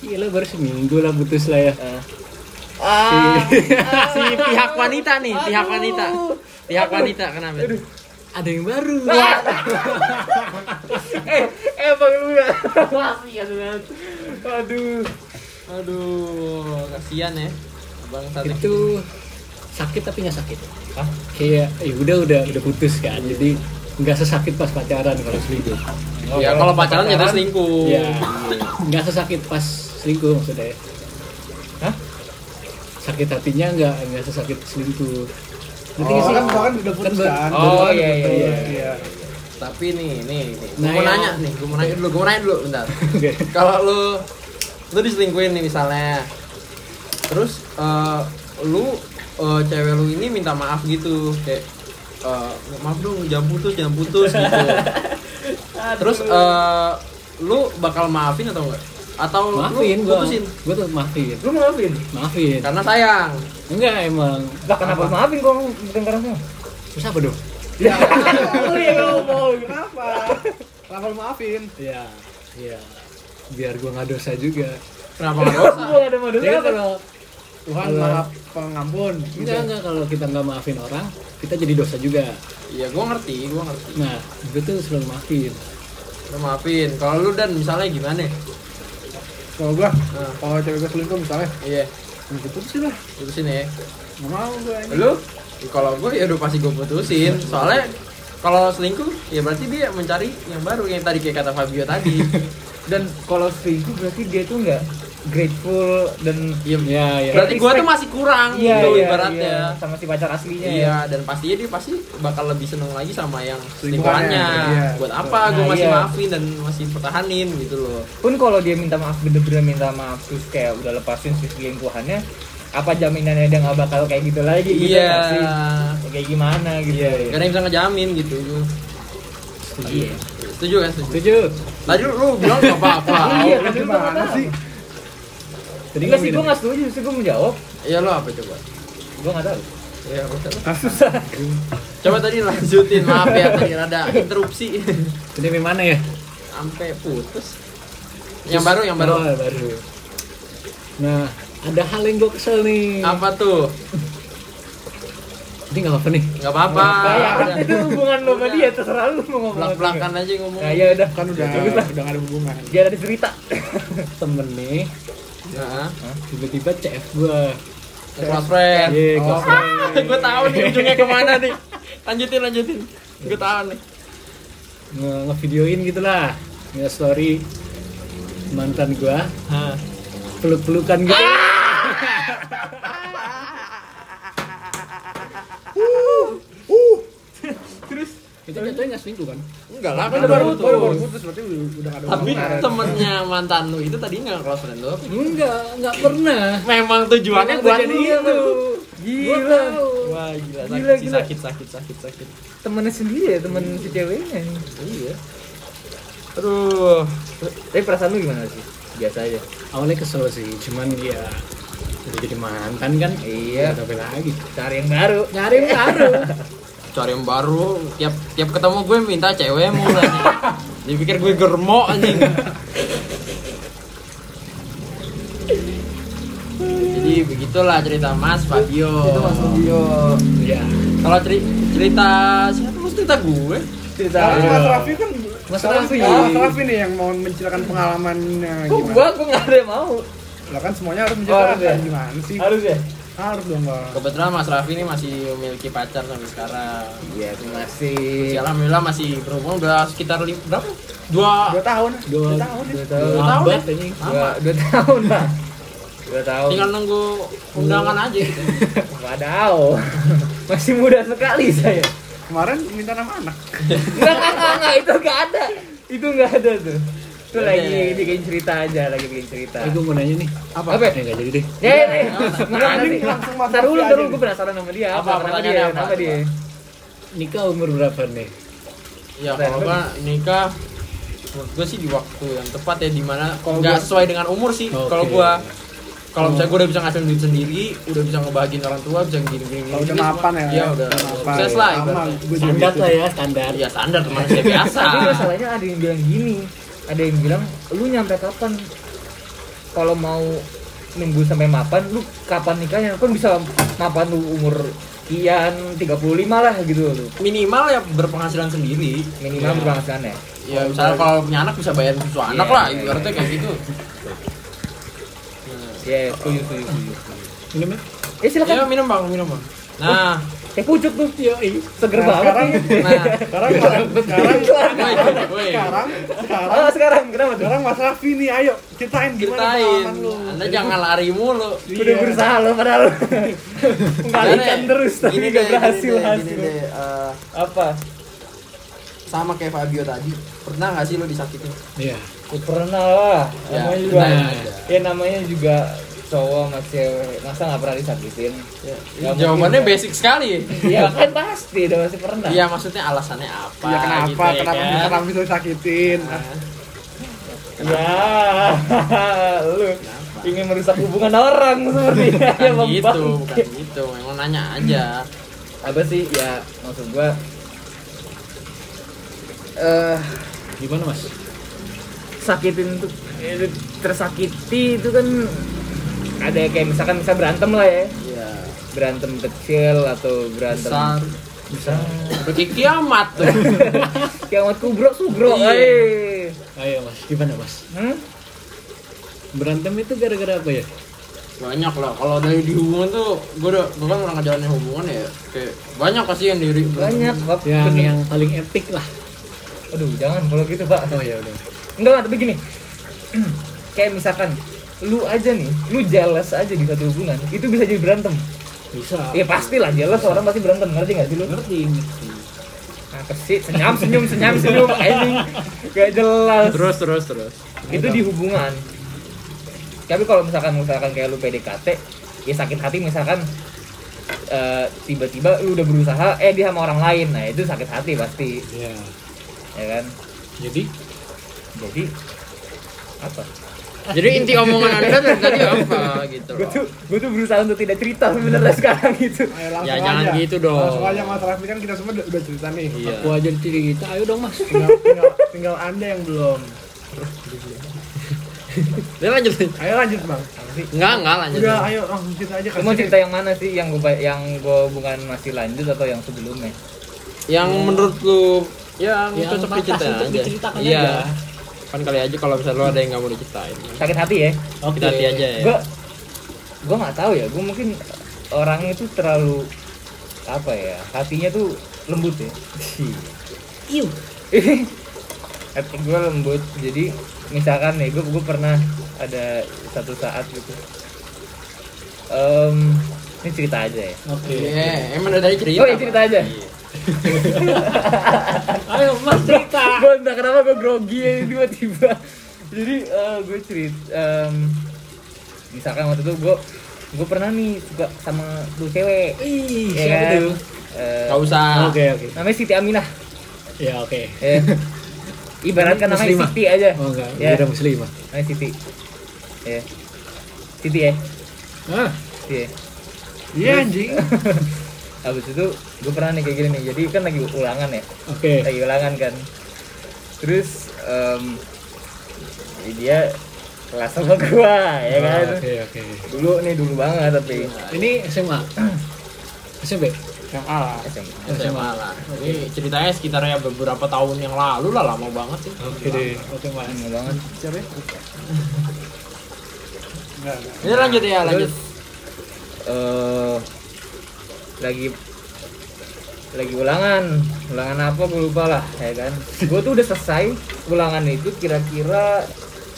[SPEAKER 5] gila baru seminggu lah putus lah ya Ah.
[SPEAKER 3] si pihak wanita nih, pihak wanita. Pihak wanita kenapa?
[SPEAKER 5] ada yang baru
[SPEAKER 2] eh, eh Bang lu ya. Aduh.
[SPEAKER 3] Aduh, kasihan ya. Bang satu.
[SPEAKER 5] itu sakit tapi nggak sakit
[SPEAKER 2] Ah. Hah?
[SPEAKER 5] kayak ya udah udah udah putus kan jadi nggak sesakit pas pacaran kalau selingkuh Iya,
[SPEAKER 3] Ya kalau pacaran ya terus selingkuh.
[SPEAKER 5] ya nggak sesakit pas selingkuh maksudnya
[SPEAKER 2] Hah?
[SPEAKER 5] sakit hatinya nggak nggak sesakit selingkuh Ngerti nggak
[SPEAKER 4] Oh,
[SPEAKER 5] sih?
[SPEAKER 4] kan bahkan udah putus
[SPEAKER 5] ber-
[SPEAKER 4] kan
[SPEAKER 2] Oh,
[SPEAKER 4] Udah
[SPEAKER 2] iya, iya,
[SPEAKER 4] putus,
[SPEAKER 2] iya.
[SPEAKER 4] iya.
[SPEAKER 3] Tapi nih, nih, nih. Gua
[SPEAKER 5] Nah,
[SPEAKER 3] mau
[SPEAKER 5] ya.
[SPEAKER 3] nanya nih, gue mau nanya dulu, gue mau nanya dulu, bentar.
[SPEAKER 5] Oke.
[SPEAKER 3] Kalau lu, lu diselingkuhin nih misalnya, terus eh, lu eh, cewek lu ini minta maaf gitu, kayak eh, maaf dong, jangan putus, jangan putus gitu. terus eh, lu bakal maafin atau enggak? Atau
[SPEAKER 5] maafin
[SPEAKER 3] lu
[SPEAKER 5] gua
[SPEAKER 3] putusin?
[SPEAKER 5] gua tuh maafin
[SPEAKER 2] Lu maafin. Kan-
[SPEAKER 5] maafin
[SPEAKER 3] Karena sayang.
[SPEAKER 5] enggak emang
[SPEAKER 2] Lah kenapa maafin gua ngomong bukan karena sama?
[SPEAKER 5] terus apa dong
[SPEAKER 2] Ya, lu yang ngomong.
[SPEAKER 4] kenapa kenapa lu maafin
[SPEAKER 5] ya ya biar gua nggak dosa juga
[SPEAKER 3] Kenapa nggak dosa?
[SPEAKER 2] Gua ada modus
[SPEAKER 5] jadi
[SPEAKER 2] apa?
[SPEAKER 5] kalau
[SPEAKER 4] Tuhan
[SPEAKER 5] Kalau-
[SPEAKER 4] maaf pengampun gitu.
[SPEAKER 5] enggak enggak kalau kita nggak maafin orang kita jadi dosa juga
[SPEAKER 3] Iya, gue ngerti, gue ngerti.
[SPEAKER 5] nah gue tuh selalu maafin
[SPEAKER 3] Lu maafin. Kalau lu dan misalnya gimana?
[SPEAKER 4] kalau gua
[SPEAKER 3] Nah.
[SPEAKER 4] kalau cewek gua selingkuh misalnya
[SPEAKER 3] Iya,
[SPEAKER 4] mungkin putusin lah
[SPEAKER 3] putusin ya.
[SPEAKER 4] Nggak mau gua ini
[SPEAKER 3] lu kalau gue ya udah pasti gue putusin soalnya kalau selingkuh ya berarti dia mencari yang baru yang tadi kayak kata Fabio tadi
[SPEAKER 2] Dan kalau selingkuh berarti dia tuh enggak grateful dan Iya,
[SPEAKER 3] Iya,
[SPEAKER 5] ya ya
[SPEAKER 3] berarti gue tuh masih kurang gitu ibaratnya
[SPEAKER 2] sama si pacar aslinya
[SPEAKER 3] iya.
[SPEAKER 2] ya.
[SPEAKER 3] dan pastinya dia pasti bakal lebih seneng lagi sama yang
[SPEAKER 4] Selingkuhannya,
[SPEAKER 3] selingkuhannya
[SPEAKER 4] iya,
[SPEAKER 3] buat
[SPEAKER 4] betul.
[SPEAKER 3] apa gue
[SPEAKER 2] Nah,
[SPEAKER 3] masih
[SPEAKER 2] iya.
[SPEAKER 3] maafin dan masih pertahanin gitu loh
[SPEAKER 2] Pun kalau dia minta maaf bener-bener minta maaf terus kayak udah lepasin si selingkuhannya, apa jaminannya dia nggak bakal kayak gitu lagi gitu
[SPEAKER 3] iya
[SPEAKER 2] nggak sih? Ya, kayak gimana gitu. Iya.
[SPEAKER 3] gak ada yang bisa ngejamin gitu
[SPEAKER 5] setuju
[SPEAKER 3] setuju kan setuju
[SPEAKER 5] setuju
[SPEAKER 3] tadi lu, lu bilang gak apa-apa
[SPEAKER 2] Iya,
[SPEAKER 4] Lu
[SPEAKER 2] kan dia
[SPEAKER 4] gimana
[SPEAKER 2] nggak tahu.
[SPEAKER 4] sih?
[SPEAKER 5] tadi
[SPEAKER 2] Enggak sih,
[SPEAKER 5] ngomongin
[SPEAKER 2] gue
[SPEAKER 5] apa?
[SPEAKER 2] nggak setuju, sih gue menjawab
[SPEAKER 3] iya lo apa coba
[SPEAKER 2] Gue nggak tahu
[SPEAKER 3] ya udah.
[SPEAKER 2] Ah, Susah
[SPEAKER 3] coba tadi lanjutin maaf ya tadi ada interupsi
[SPEAKER 5] Jadi memang mana ya?
[SPEAKER 3] sampai putus Yang baru, yang baru.
[SPEAKER 5] Oh, yang baru. Nah, ada hal yang gue kesel nih.
[SPEAKER 2] Ah.
[SPEAKER 3] Apa tuh?
[SPEAKER 5] Ini nggak apa nih?
[SPEAKER 3] Gak apa-apa.
[SPEAKER 2] Kayak
[SPEAKER 3] Udah.
[SPEAKER 2] itu hubungan lo sama dia terserah lu mau ngomong. apa.
[SPEAKER 3] Belak-belakan aja ngomong.
[SPEAKER 2] Nah, ya udah
[SPEAKER 4] kan udah
[SPEAKER 2] Bagus
[SPEAKER 4] udah
[SPEAKER 2] lah.
[SPEAKER 4] nggak ada hubungan
[SPEAKER 2] Biar ada cerita.
[SPEAKER 5] Temen nih,
[SPEAKER 3] Nah,
[SPEAKER 5] tiba-tiba CF gue.
[SPEAKER 3] close friend.
[SPEAKER 5] Iya,
[SPEAKER 4] Oh.
[SPEAKER 5] kelas
[SPEAKER 3] gue tahu nih ujungnya kemana nih. Lanjutin, lanjutin. Gue tahu nih.
[SPEAKER 5] nge ngevideoin gitu lah. Nge story mantan gue, peluk-pelukan gitu.
[SPEAKER 4] Uh,
[SPEAKER 5] Itu jatuhnya nggak selingkuh kan?
[SPEAKER 3] Enggak lah, kan
[SPEAKER 4] Kan
[SPEAKER 3] udah baru
[SPEAKER 4] baru baru
[SPEAKER 3] putus.
[SPEAKER 4] putus berarti udah udah nggak ada
[SPEAKER 3] Tapi
[SPEAKER 4] hubungan.
[SPEAKER 3] temennya mantan lu itu tadi nggak close friend lu apa?
[SPEAKER 5] Enggak, nggak pernah.
[SPEAKER 3] Memang tujuannya
[SPEAKER 5] Memang
[SPEAKER 3] buat
[SPEAKER 5] tujuannya
[SPEAKER 3] lu.
[SPEAKER 5] itu. Gua
[SPEAKER 2] Gila.
[SPEAKER 5] tahu.
[SPEAKER 3] Wah, gila, sakit,
[SPEAKER 2] Gila,
[SPEAKER 3] sih,
[SPEAKER 2] gila.
[SPEAKER 3] sakit, sakit, sakit, sakit.
[SPEAKER 2] Temennya sendiri ya, temen si ceweknya.
[SPEAKER 3] Iya. Aduh.
[SPEAKER 2] Tapi perasaan lu gimana sih? Biasa aja.
[SPEAKER 5] Awalnya kesel sih, cuman dia udah jadi mantan kan?
[SPEAKER 2] Iya.
[SPEAKER 5] Tapi lagi.
[SPEAKER 2] Cari yang baru.
[SPEAKER 5] Nyari yang baru.
[SPEAKER 3] Cari yang baru, tiap tiap ketemu gue minta cewek mulu anjing. Dia pikir gue germo anjing. Jadi begitulah cerita Mas Fabio. Iya.
[SPEAKER 2] Yo.
[SPEAKER 5] ya.
[SPEAKER 3] Kalau ceri- cerita siapa? Mas cerita gue.
[SPEAKER 2] Cerita.
[SPEAKER 4] Nah,
[SPEAKER 5] Iya.
[SPEAKER 4] Mas Raffi kan
[SPEAKER 5] Mas
[SPEAKER 4] sekarang
[SPEAKER 5] Raffi.
[SPEAKER 4] Mas Raffi nih yang mau menceritakan pengalamannya
[SPEAKER 2] Kok gua gua nggak ada yang mau.
[SPEAKER 4] Lah kan semuanya harus
[SPEAKER 2] Oh, harus ya?
[SPEAKER 4] menceritakan gimana sih?
[SPEAKER 2] Harus ya?
[SPEAKER 4] Harus dong, Bang.
[SPEAKER 3] Kebetulan Mas Raffi ini masih memiliki pacar sampai sekarang.
[SPEAKER 2] Iya, terima
[SPEAKER 3] Ya,
[SPEAKER 2] kasih.
[SPEAKER 3] alhamdulillah masih berhubungan udah sekitar lim- berapa? Dua,
[SPEAKER 4] Dua tahun.
[SPEAKER 5] Dua-
[SPEAKER 4] Dua tahun. ya.
[SPEAKER 2] Dua tahun.
[SPEAKER 3] Dua tahun
[SPEAKER 5] Abad
[SPEAKER 3] ya?
[SPEAKER 5] anjing.
[SPEAKER 2] Dua, dua tahun lah. Dua tahun.
[SPEAKER 3] tinggal nunggu undangan aja gitu.
[SPEAKER 2] Wadaw. Masih muda sekali saya.
[SPEAKER 4] Kemarin minta nama anak.
[SPEAKER 2] Enggak, enggak, enggak, enggak, "Ah, itu enggak ada. Itu enggak ada tuh. Itu
[SPEAKER 3] Ada.
[SPEAKER 2] lagi bikin cerita aja, lagi bikin cerita.
[SPEAKER 5] Eh, gue mau nanya nih.
[SPEAKER 2] Nah. Apa?
[SPEAKER 5] Eh, nggak jadi deh.
[SPEAKER 2] Ya, ya, ya.
[SPEAKER 4] Anjing, langsung masuk
[SPEAKER 2] Taruh dulu,
[SPEAKER 4] aja
[SPEAKER 2] taruh
[SPEAKER 4] nih.
[SPEAKER 2] gue penasaran sama dia.
[SPEAKER 3] gitu.
[SPEAKER 2] Apa,
[SPEAKER 3] Apa,
[SPEAKER 2] kenapa dia?
[SPEAKER 3] pertanyaannya apa?
[SPEAKER 2] Kenapa dia?
[SPEAKER 5] Nikah umur berapa nih?
[SPEAKER 3] Ya kalau gua nikah menurut gua sih di waktu yang tepat ya dimana
[SPEAKER 4] Kalau
[SPEAKER 3] nggak
[SPEAKER 4] gua- Oh.
[SPEAKER 3] sesuai dengan umur sih.
[SPEAKER 5] Oke.
[SPEAKER 3] Kalau gua kalau misalnya gua udah bisa ngasihin duit sendiri, udah bisa ngebahagiin orang tua, bisa gini-gini.
[SPEAKER 4] Kalau udah
[SPEAKER 3] gini semua.
[SPEAKER 4] mapan ya.
[SPEAKER 3] Iya, udah
[SPEAKER 4] mapan.
[SPEAKER 3] sukses lah.
[SPEAKER 4] Sama
[SPEAKER 3] ibaratnya.
[SPEAKER 4] gue juga
[SPEAKER 5] Standar
[SPEAKER 4] gitu.
[SPEAKER 5] lah ya, standar.
[SPEAKER 3] Ya standar manusia biasa.
[SPEAKER 2] Tapi masalahnya ada yang bilang gini, ada yang bilang lu nyampe kapan kalau mau nunggu sampai mapan lu kapan nikahnya kan bisa mapan lu umur kian 35 lah gitu lu
[SPEAKER 3] Minimal ya berpenghasilan sendiri.
[SPEAKER 2] minimal berpenghasilan ya
[SPEAKER 3] Ya misalnya kalau punya anak bisa bayar susu anak
[SPEAKER 2] Iya,
[SPEAKER 3] lah,
[SPEAKER 2] iya,
[SPEAKER 3] ibaratnya
[SPEAKER 2] iya.
[SPEAKER 3] kayak gitu.
[SPEAKER 2] ya setuju setuju setuju
[SPEAKER 5] Minum ya?
[SPEAKER 2] ya silakan
[SPEAKER 3] Ya minum bang, minum bang. Nah,
[SPEAKER 2] eh pucuk tuh
[SPEAKER 5] Iya, iya.
[SPEAKER 2] seger
[SPEAKER 4] Nah,
[SPEAKER 2] banget
[SPEAKER 4] sekarang-
[SPEAKER 2] nih.
[SPEAKER 3] nah,
[SPEAKER 4] Sekarang sekarang
[SPEAKER 3] woi, woi.
[SPEAKER 4] sekarang sekarang
[SPEAKER 2] Ah, sekarang kenapa tuh?
[SPEAKER 4] sekarang Mas Raffi nih ayo ceritain gimana
[SPEAKER 3] Ceritain,
[SPEAKER 4] pengalaman lu.
[SPEAKER 3] anda jangan lari mulu.
[SPEAKER 2] Gue udah
[SPEAKER 4] Iya.
[SPEAKER 2] berusaha lo padahal Mengalihkan
[SPEAKER 3] Gini deh,
[SPEAKER 2] terus
[SPEAKER 3] ya?
[SPEAKER 2] tapi
[SPEAKER 3] gini deh,
[SPEAKER 2] gak
[SPEAKER 3] gini
[SPEAKER 2] berhasil
[SPEAKER 3] deh, gini
[SPEAKER 2] hasil
[SPEAKER 3] deh, eh,
[SPEAKER 2] Apa?
[SPEAKER 3] sama kayak Fabio tadi pernah nggak sih lo disakitin
[SPEAKER 5] Iya.
[SPEAKER 2] Ya, pernah lah
[SPEAKER 3] Ya,
[SPEAKER 2] Namanya juga
[SPEAKER 5] pernah.
[SPEAKER 2] Ya namanya juga cowok sama cewek Masa gak pernah disakitin?
[SPEAKER 3] Ini
[SPEAKER 2] Nggak
[SPEAKER 3] Ya,
[SPEAKER 2] Ya,
[SPEAKER 3] jawabannya
[SPEAKER 2] mungkin,
[SPEAKER 3] basic sekali
[SPEAKER 2] Ya kan pasti, udah pasti pernah
[SPEAKER 3] Iya maksudnya alasannya apa
[SPEAKER 4] Iya kenapa
[SPEAKER 3] gitu ya
[SPEAKER 4] kenapa
[SPEAKER 3] kan?
[SPEAKER 4] Mas Raffi tuh
[SPEAKER 2] Iya,
[SPEAKER 4] sakitin?
[SPEAKER 3] Nah,
[SPEAKER 2] Ya, Iya. lu ingin merusak hubungan orang sepertinya ya,
[SPEAKER 3] bukan gitu
[SPEAKER 2] membangkit.
[SPEAKER 3] bukan gitu memang nanya aja
[SPEAKER 2] Apa sih, ya maksud gua eh
[SPEAKER 5] Gimana mas?
[SPEAKER 2] sakitin tuh eh, tersakiti itu kan ada kayak misalkan bisa berantem lah ya
[SPEAKER 3] Iya
[SPEAKER 2] berantem kecil atau berantem
[SPEAKER 3] besar
[SPEAKER 2] bisa
[SPEAKER 3] pergi kiamat tuh
[SPEAKER 2] kiamat kubro subro
[SPEAKER 3] Iya.
[SPEAKER 2] eh
[SPEAKER 5] Ayo mas, gimana mas?
[SPEAKER 2] hmm?
[SPEAKER 5] Berantem itu gara-gara apa ya?
[SPEAKER 3] banyak lah kalau dari di hubungan tuh gue udah gue kan orang ngejalanin hubungan ya kayak banyak pasti yang diri
[SPEAKER 2] banyak pak
[SPEAKER 5] Hmm. Yang yang paling epic lah.
[SPEAKER 2] aduh jangan kalau gitu pak
[SPEAKER 5] Oh ya udah.
[SPEAKER 2] enggak enggak, tapi gini kayak misalkan lu aja nih lu jealous aja di satu hubungan itu bisa jadi berantem
[SPEAKER 5] Bisa.
[SPEAKER 2] ya pastilah jealous orang pasti berantem ngerti nggak sih lu
[SPEAKER 5] Ngerti. ngerti.
[SPEAKER 2] apa sih senyum senyum senyum senyum ini gak jelas
[SPEAKER 3] terus terus terus
[SPEAKER 2] itu di hubungan tapi kalau misalkan misalkan kayak lu PDKT ya sakit hati misalkan eh, tiba-tiba lu udah berusaha eh dia sama orang lain nah itu sakit hati pasti
[SPEAKER 3] Iya.
[SPEAKER 5] Ya.
[SPEAKER 2] ya kan
[SPEAKER 5] Jadi
[SPEAKER 2] jadi apa
[SPEAKER 3] jadi inti omongan anda dari tadi apa gitu
[SPEAKER 2] gue
[SPEAKER 3] loh
[SPEAKER 2] tuh gue tuh berusaha untuk tidak cerita
[SPEAKER 3] Iya.
[SPEAKER 2] sebenarnya sekarang gitu
[SPEAKER 4] Ayo langsung
[SPEAKER 3] Ya, jangan
[SPEAKER 4] aja.
[SPEAKER 3] gitu dong.
[SPEAKER 4] Langsung aja Mas Raffi kan kita semua udah udah cerita nih.
[SPEAKER 3] Iya.
[SPEAKER 5] aku aja cerita, ayo dong mas.
[SPEAKER 4] Tinggal, tinggal, tinggal Anda yang belum.
[SPEAKER 3] Dia lanjut.
[SPEAKER 4] Ayo lanjut bang.
[SPEAKER 3] Enggak, enggak lanjut.
[SPEAKER 4] Udah, ayo langsung cerita aja.
[SPEAKER 2] Lu mau cerita yang mana sih yang gue yang gue hubungan masih lanjut atau yang sebelumnya?
[SPEAKER 3] Yang menurut lu yang,
[SPEAKER 5] Yang
[SPEAKER 3] cocok
[SPEAKER 5] pantas
[SPEAKER 3] diceritain
[SPEAKER 5] untuk
[SPEAKER 3] aja.
[SPEAKER 5] diceritakan
[SPEAKER 3] iya.
[SPEAKER 5] aja.
[SPEAKER 3] Kan kali aja kalau misalnya lu ada yang nggak mau diceritain.
[SPEAKER 2] Sakit hati ya?
[SPEAKER 5] Oke.
[SPEAKER 3] Kita hati aja ya.
[SPEAKER 2] Gue gue nggak tahu ya. Gue mungkin orangnya itu terlalu apa ya? Hatinya tuh lembut ya.
[SPEAKER 5] Iu.
[SPEAKER 2] Hati gue lembut. Jadi misalkan nih gue gue pernah ada satu saat gitu. Em, ini cerita aja ya.
[SPEAKER 5] Oke.
[SPEAKER 3] Iya, emang ada cerita.
[SPEAKER 2] Oh, iya, cerita
[SPEAKER 3] Pak?
[SPEAKER 2] aja.
[SPEAKER 3] Iya.
[SPEAKER 5] Ayo Mas cerita.
[SPEAKER 2] gue entah kenapa gue grogi aja tiba-tiba jadi eh, gue cerita em, misalkan waktu itu gue gue pernah nih suka sama dua cewek
[SPEAKER 5] Ih,
[SPEAKER 2] ya
[SPEAKER 5] siapa
[SPEAKER 2] kan?
[SPEAKER 5] tuh?
[SPEAKER 2] Eh,
[SPEAKER 3] Nggak usah.
[SPEAKER 5] Oke, oke.
[SPEAKER 2] namanya Siti Aminah
[SPEAKER 5] Ya, oke.
[SPEAKER 2] ya. ibaratkan namanya
[SPEAKER 5] Muslimah.
[SPEAKER 2] Siti aja
[SPEAKER 5] Oh enggak,
[SPEAKER 2] ya
[SPEAKER 5] kira muslimah.
[SPEAKER 2] namanya Siti ya Siti ya
[SPEAKER 5] Ah,
[SPEAKER 2] Siti ya
[SPEAKER 4] Iya anjing.
[SPEAKER 2] abis itu gue pernah nih kayak gini nih jadi kan lagi ulangan ya
[SPEAKER 5] oke.
[SPEAKER 2] lagi ulangan kan terus em, dia kelas sama gua ya kan
[SPEAKER 5] Ah, Oke, oke.
[SPEAKER 2] dulu nih dulu banget tapi
[SPEAKER 5] Ini SMA. SMP.
[SPEAKER 4] Yang A
[SPEAKER 5] Iya.
[SPEAKER 4] lah.
[SPEAKER 2] SMA.
[SPEAKER 3] SMA lah. Ini ceritanya sekitar ya beberapa tahun yang lalu lah, lama banget sih.
[SPEAKER 5] Oke deh. Oke, Mas.
[SPEAKER 2] Lama banget
[SPEAKER 4] Siapa? ya? Enggak, enggak.
[SPEAKER 3] Ini lanjut ya, lanjut.
[SPEAKER 2] Terus, eh, lagi lagi ulangan ulangan apa gue lupa lah ya kan gue tuh udah selesai ulangan itu kira-kira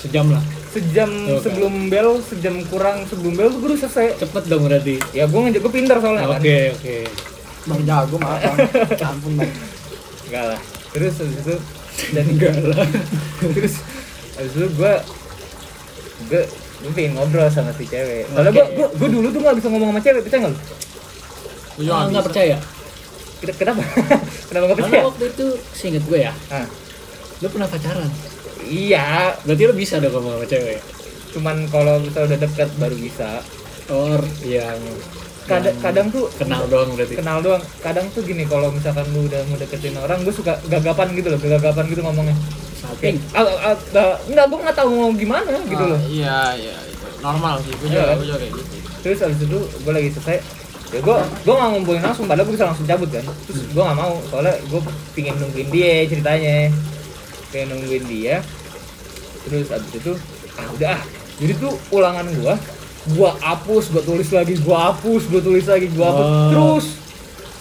[SPEAKER 5] Sejam lah.
[SPEAKER 2] sejam
[SPEAKER 5] Oke.
[SPEAKER 2] sebelum bel sejam kurang sebelum bel tuh gue udah selesai
[SPEAKER 5] Cepet dong berarti.
[SPEAKER 2] ya gue ngejek gue pinter soalnya kan
[SPEAKER 5] Oke, oke.
[SPEAKER 4] Bang Jago maaf bang. Ampun bang.
[SPEAKER 2] enggak lah terus habis itu dan
[SPEAKER 5] Enggak lah.
[SPEAKER 2] terus abis itu gue gue gue pengen ngobrol sama si cewek soalnya gue gue gue dulu tuh gak bisa ngomong sama cewek percaya nggak lu
[SPEAKER 3] Lu
[SPEAKER 5] Ah,
[SPEAKER 3] jangan
[SPEAKER 5] Enggak
[SPEAKER 3] bisa.
[SPEAKER 5] percaya.
[SPEAKER 2] Ken- kenapa kenapa gak
[SPEAKER 3] Iya.
[SPEAKER 2] percaya
[SPEAKER 5] Karena waktu itu seinget gue ya,
[SPEAKER 2] ah,
[SPEAKER 5] lu pernah pacaran.
[SPEAKER 2] iya
[SPEAKER 5] Berarti lu bisa dong ngomong sama cewek.
[SPEAKER 2] cuman kalau kita udah dekat baru bisa
[SPEAKER 5] Or yang
[SPEAKER 2] kadang kadang tuh
[SPEAKER 5] kenal doang berarti.
[SPEAKER 2] kenal doang kadang tuh gini kalau misalkan lu udah mau deketin orang gue suka gagapan gitu loh gagapan gitu ngomongnya
[SPEAKER 5] Saking.
[SPEAKER 2] kayak ah, ah, ah, enggak gue nggak tahu mau gimana gitu
[SPEAKER 3] Ah,
[SPEAKER 2] loh
[SPEAKER 3] Iya, iya. itu Normal sih, gue
[SPEAKER 2] Iya.
[SPEAKER 3] juga, gue juga kayak gitu.
[SPEAKER 2] terus abis itu gue lagi selesai ya gue gue nggak ngumpulin langsung padahal gue bisa langsung cabut kan terus gue nggak mau soalnya gue pingin nungguin dia ceritanya pengen nungguin dia terus abis itu ah udah ah. jadi tuh ulangan gue gue hapus gue tulis lagi gue hapus gue tulis lagi gue hapus
[SPEAKER 3] Oh.
[SPEAKER 5] Wow.
[SPEAKER 2] terus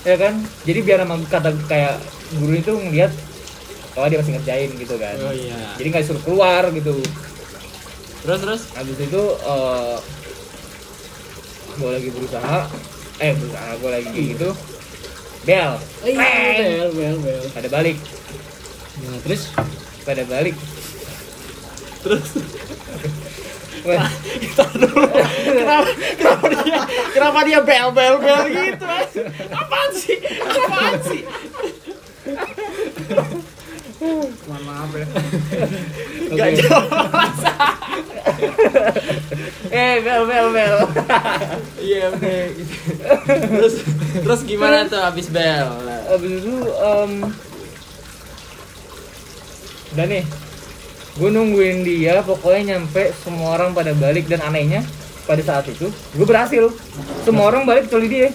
[SPEAKER 2] ya kan jadi biar emang kata kayak guru itu ngeliat kalau dia masih ngerjain gitu kan
[SPEAKER 3] Oh iya.
[SPEAKER 2] jadi nggak disuruh keluar gitu
[SPEAKER 3] Terus terus
[SPEAKER 2] habis itu eh gue lagi berusaha eh berusaha gue lagi gitu bel
[SPEAKER 5] Eh, bel, bel, bel.
[SPEAKER 2] pada balik
[SPEAKER 5] Nah, terus
[SPEAKER 2] pada balik
[SPEAKER 3] terus.
[SPEAKER 2] Weh,
[SPEAKER 3] Kita dulu. kenapa, kenapa dia kenapa dia bel bel bel Oh, gitu? Mas? Apaan sih? Apaan sih?
[SPEAKER 4] Mohon maaf ya.
[SPEAKER 3] Gak jelas.
[SPEAKER 2] eh bel bel bel
[SPEAKER 3] Iya oke. Terus terus gimana tuh abis bel?
[SPEAKER 2] habis itu em udah nih gue nungguin dia pokoknya nyampe semua orang pada balik dan anehnya pada saat itu gue berhasil semua orang balik kecuali dia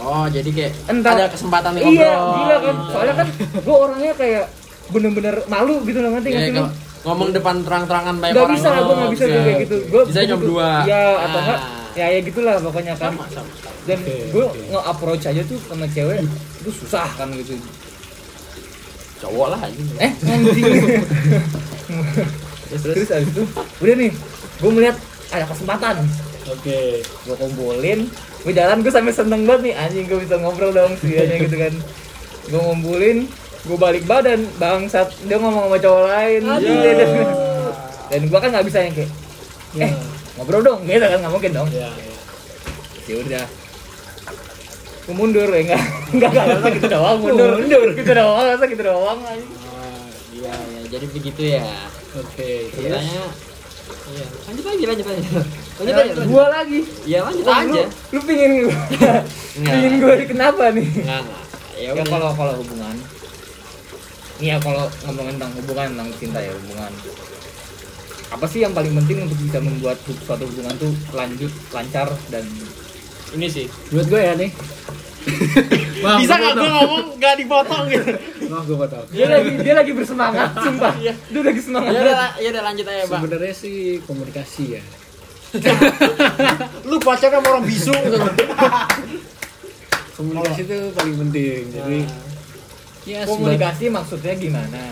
[SPEAKER 3] Oh jadi kayak
[SPEAKER 2] Entah.
[SPEAKER 3] ada kesempatan ngobrol.
[SPEAKER 2] iya gila kan
[SPEAKER 3] gitu.
[SPEAKER 2] soalnya kan gue orangnya kayak bener-bener malu gitu loh ngerti
[SPEAKER 3] Iya,
[SPEAKER 2] nggak sih lu
[SPEAKER 3] kalau ngomong depan terang-terangan banyak
[SPEAKER 2] Gak
[SPEAKER 3] orang.
[SPEAKER 2] bisa, gue gak bisa kayak gitu. Gua
[SPEAKER 3] Bisa jam dua.
[SPEAKER 2] Iya, atau enggak?
[SPEAKER 3] Ah.
[SPEAKER 2] Ya ya gitulah pokoknya kan.
[SPEAKER 3] Sama sama. sama.
[SPEAKER 2] Dan
[SPEAKER 5] Oke,
[SPEAKER 2] gue
[SPEAKER 5] oke.
[SPEAKER 2] nge-approach aja tuh sama cewek itu susah kan gitu.
[SPEAKER 3] Cowok lah anjing.
[SPEAKER 2] Eh, anjing.
[SPEAKER 3] Terus terus.
[SPEAKER 2] Terus abis itu, udah nih, gue melihat ada kesempatan.
[SPEAKER 5] oke.
[SPEAKER 2] Gue kumpulin, gue jalan gue sampai seneng banget nih anjing gue bisa ngobrol dong setidaknya gitu kan. Gue ngumpulin, gue balik badan, bangsat dia ngomong sama cowok lain. Iya, dan, dan gue kan nggak bisa yang kayak
[SPEAKER 5] Ya,
[SPEAKER 2] Eh. ngobrol dong, gitu kan nggak mungkin dong.
[SPEAKER 5] ya, ya.
[SPEAKER 2] ya udah Gua mundur ya enggak enggak enggak masa gitu doang mundur mundur gitu doang masa gitu doang aja
[SPEAKER 3] Oh, Iya ya jadi begitu ya.
[SPEAKER 5] Oke.
[SPEAKER 3] Ceritanya. Iya. Lanjut lagi lanjut lagi. Lanjut
[SPEAKER 2] Lanjut,
[SPEAKER 3] lanjut. lanjut.
[SPEAKER 2] gua lagi
[SPEAKER 3] Iya lanjut
[SPEAKER 2] Wah,
[SPEAKER 3] aja.
[SPEAKER 2] lu, lu pingin gua pingin gua di- kenapa nih
[SPEAKER 3] Enggak enggak. Ya
[SPEAKER 2] ya
[SPEAKER 3] udah.
[SPEAKER 2] kalau kalau hubungan Iya, ini ya kalau ngomongin tentang hubungan tentang cinta ya hubungan apa sih yang paling penting untuk bisa membuat su- suatu hubungan tuh lanjut lancar dan
[SPEAKER 3] ini sih
[SPEAKER 5] Menurut gue ya nih. Wah,
[SPEAKER 3] bisa
[SPEAKER 5] gua
[SPEAKER 3] nggak gue
[SPEAKER 5] potong.
[SPEAKER 3] ngomong nggak dipotong gitu
[SPEAKER 5] Wah, gue potong.
[SPEAKER 3] Eh,
[SPEAKER 2] dia lagi dia lagi bersemangat sumpah
[SPEAKER 3] Iya.
[SPEAKER 2] dia lagi semangat
[SPEAKER 3] ya udah ya udah lanjut aja bang
[SPEAKER 5] Sebenarnya sih komunikasi ya.
[SPEAKER 3] lu pacarnya sama orang bisu gitu. Oh.
[SPEAKER 5] Komunikasi itu paling penting.
[SPEAKER 3] Ah.
[SPEAKER 5] Jadi ya sebagai
[SPEAKER 2] komunikasi maksudnya gimana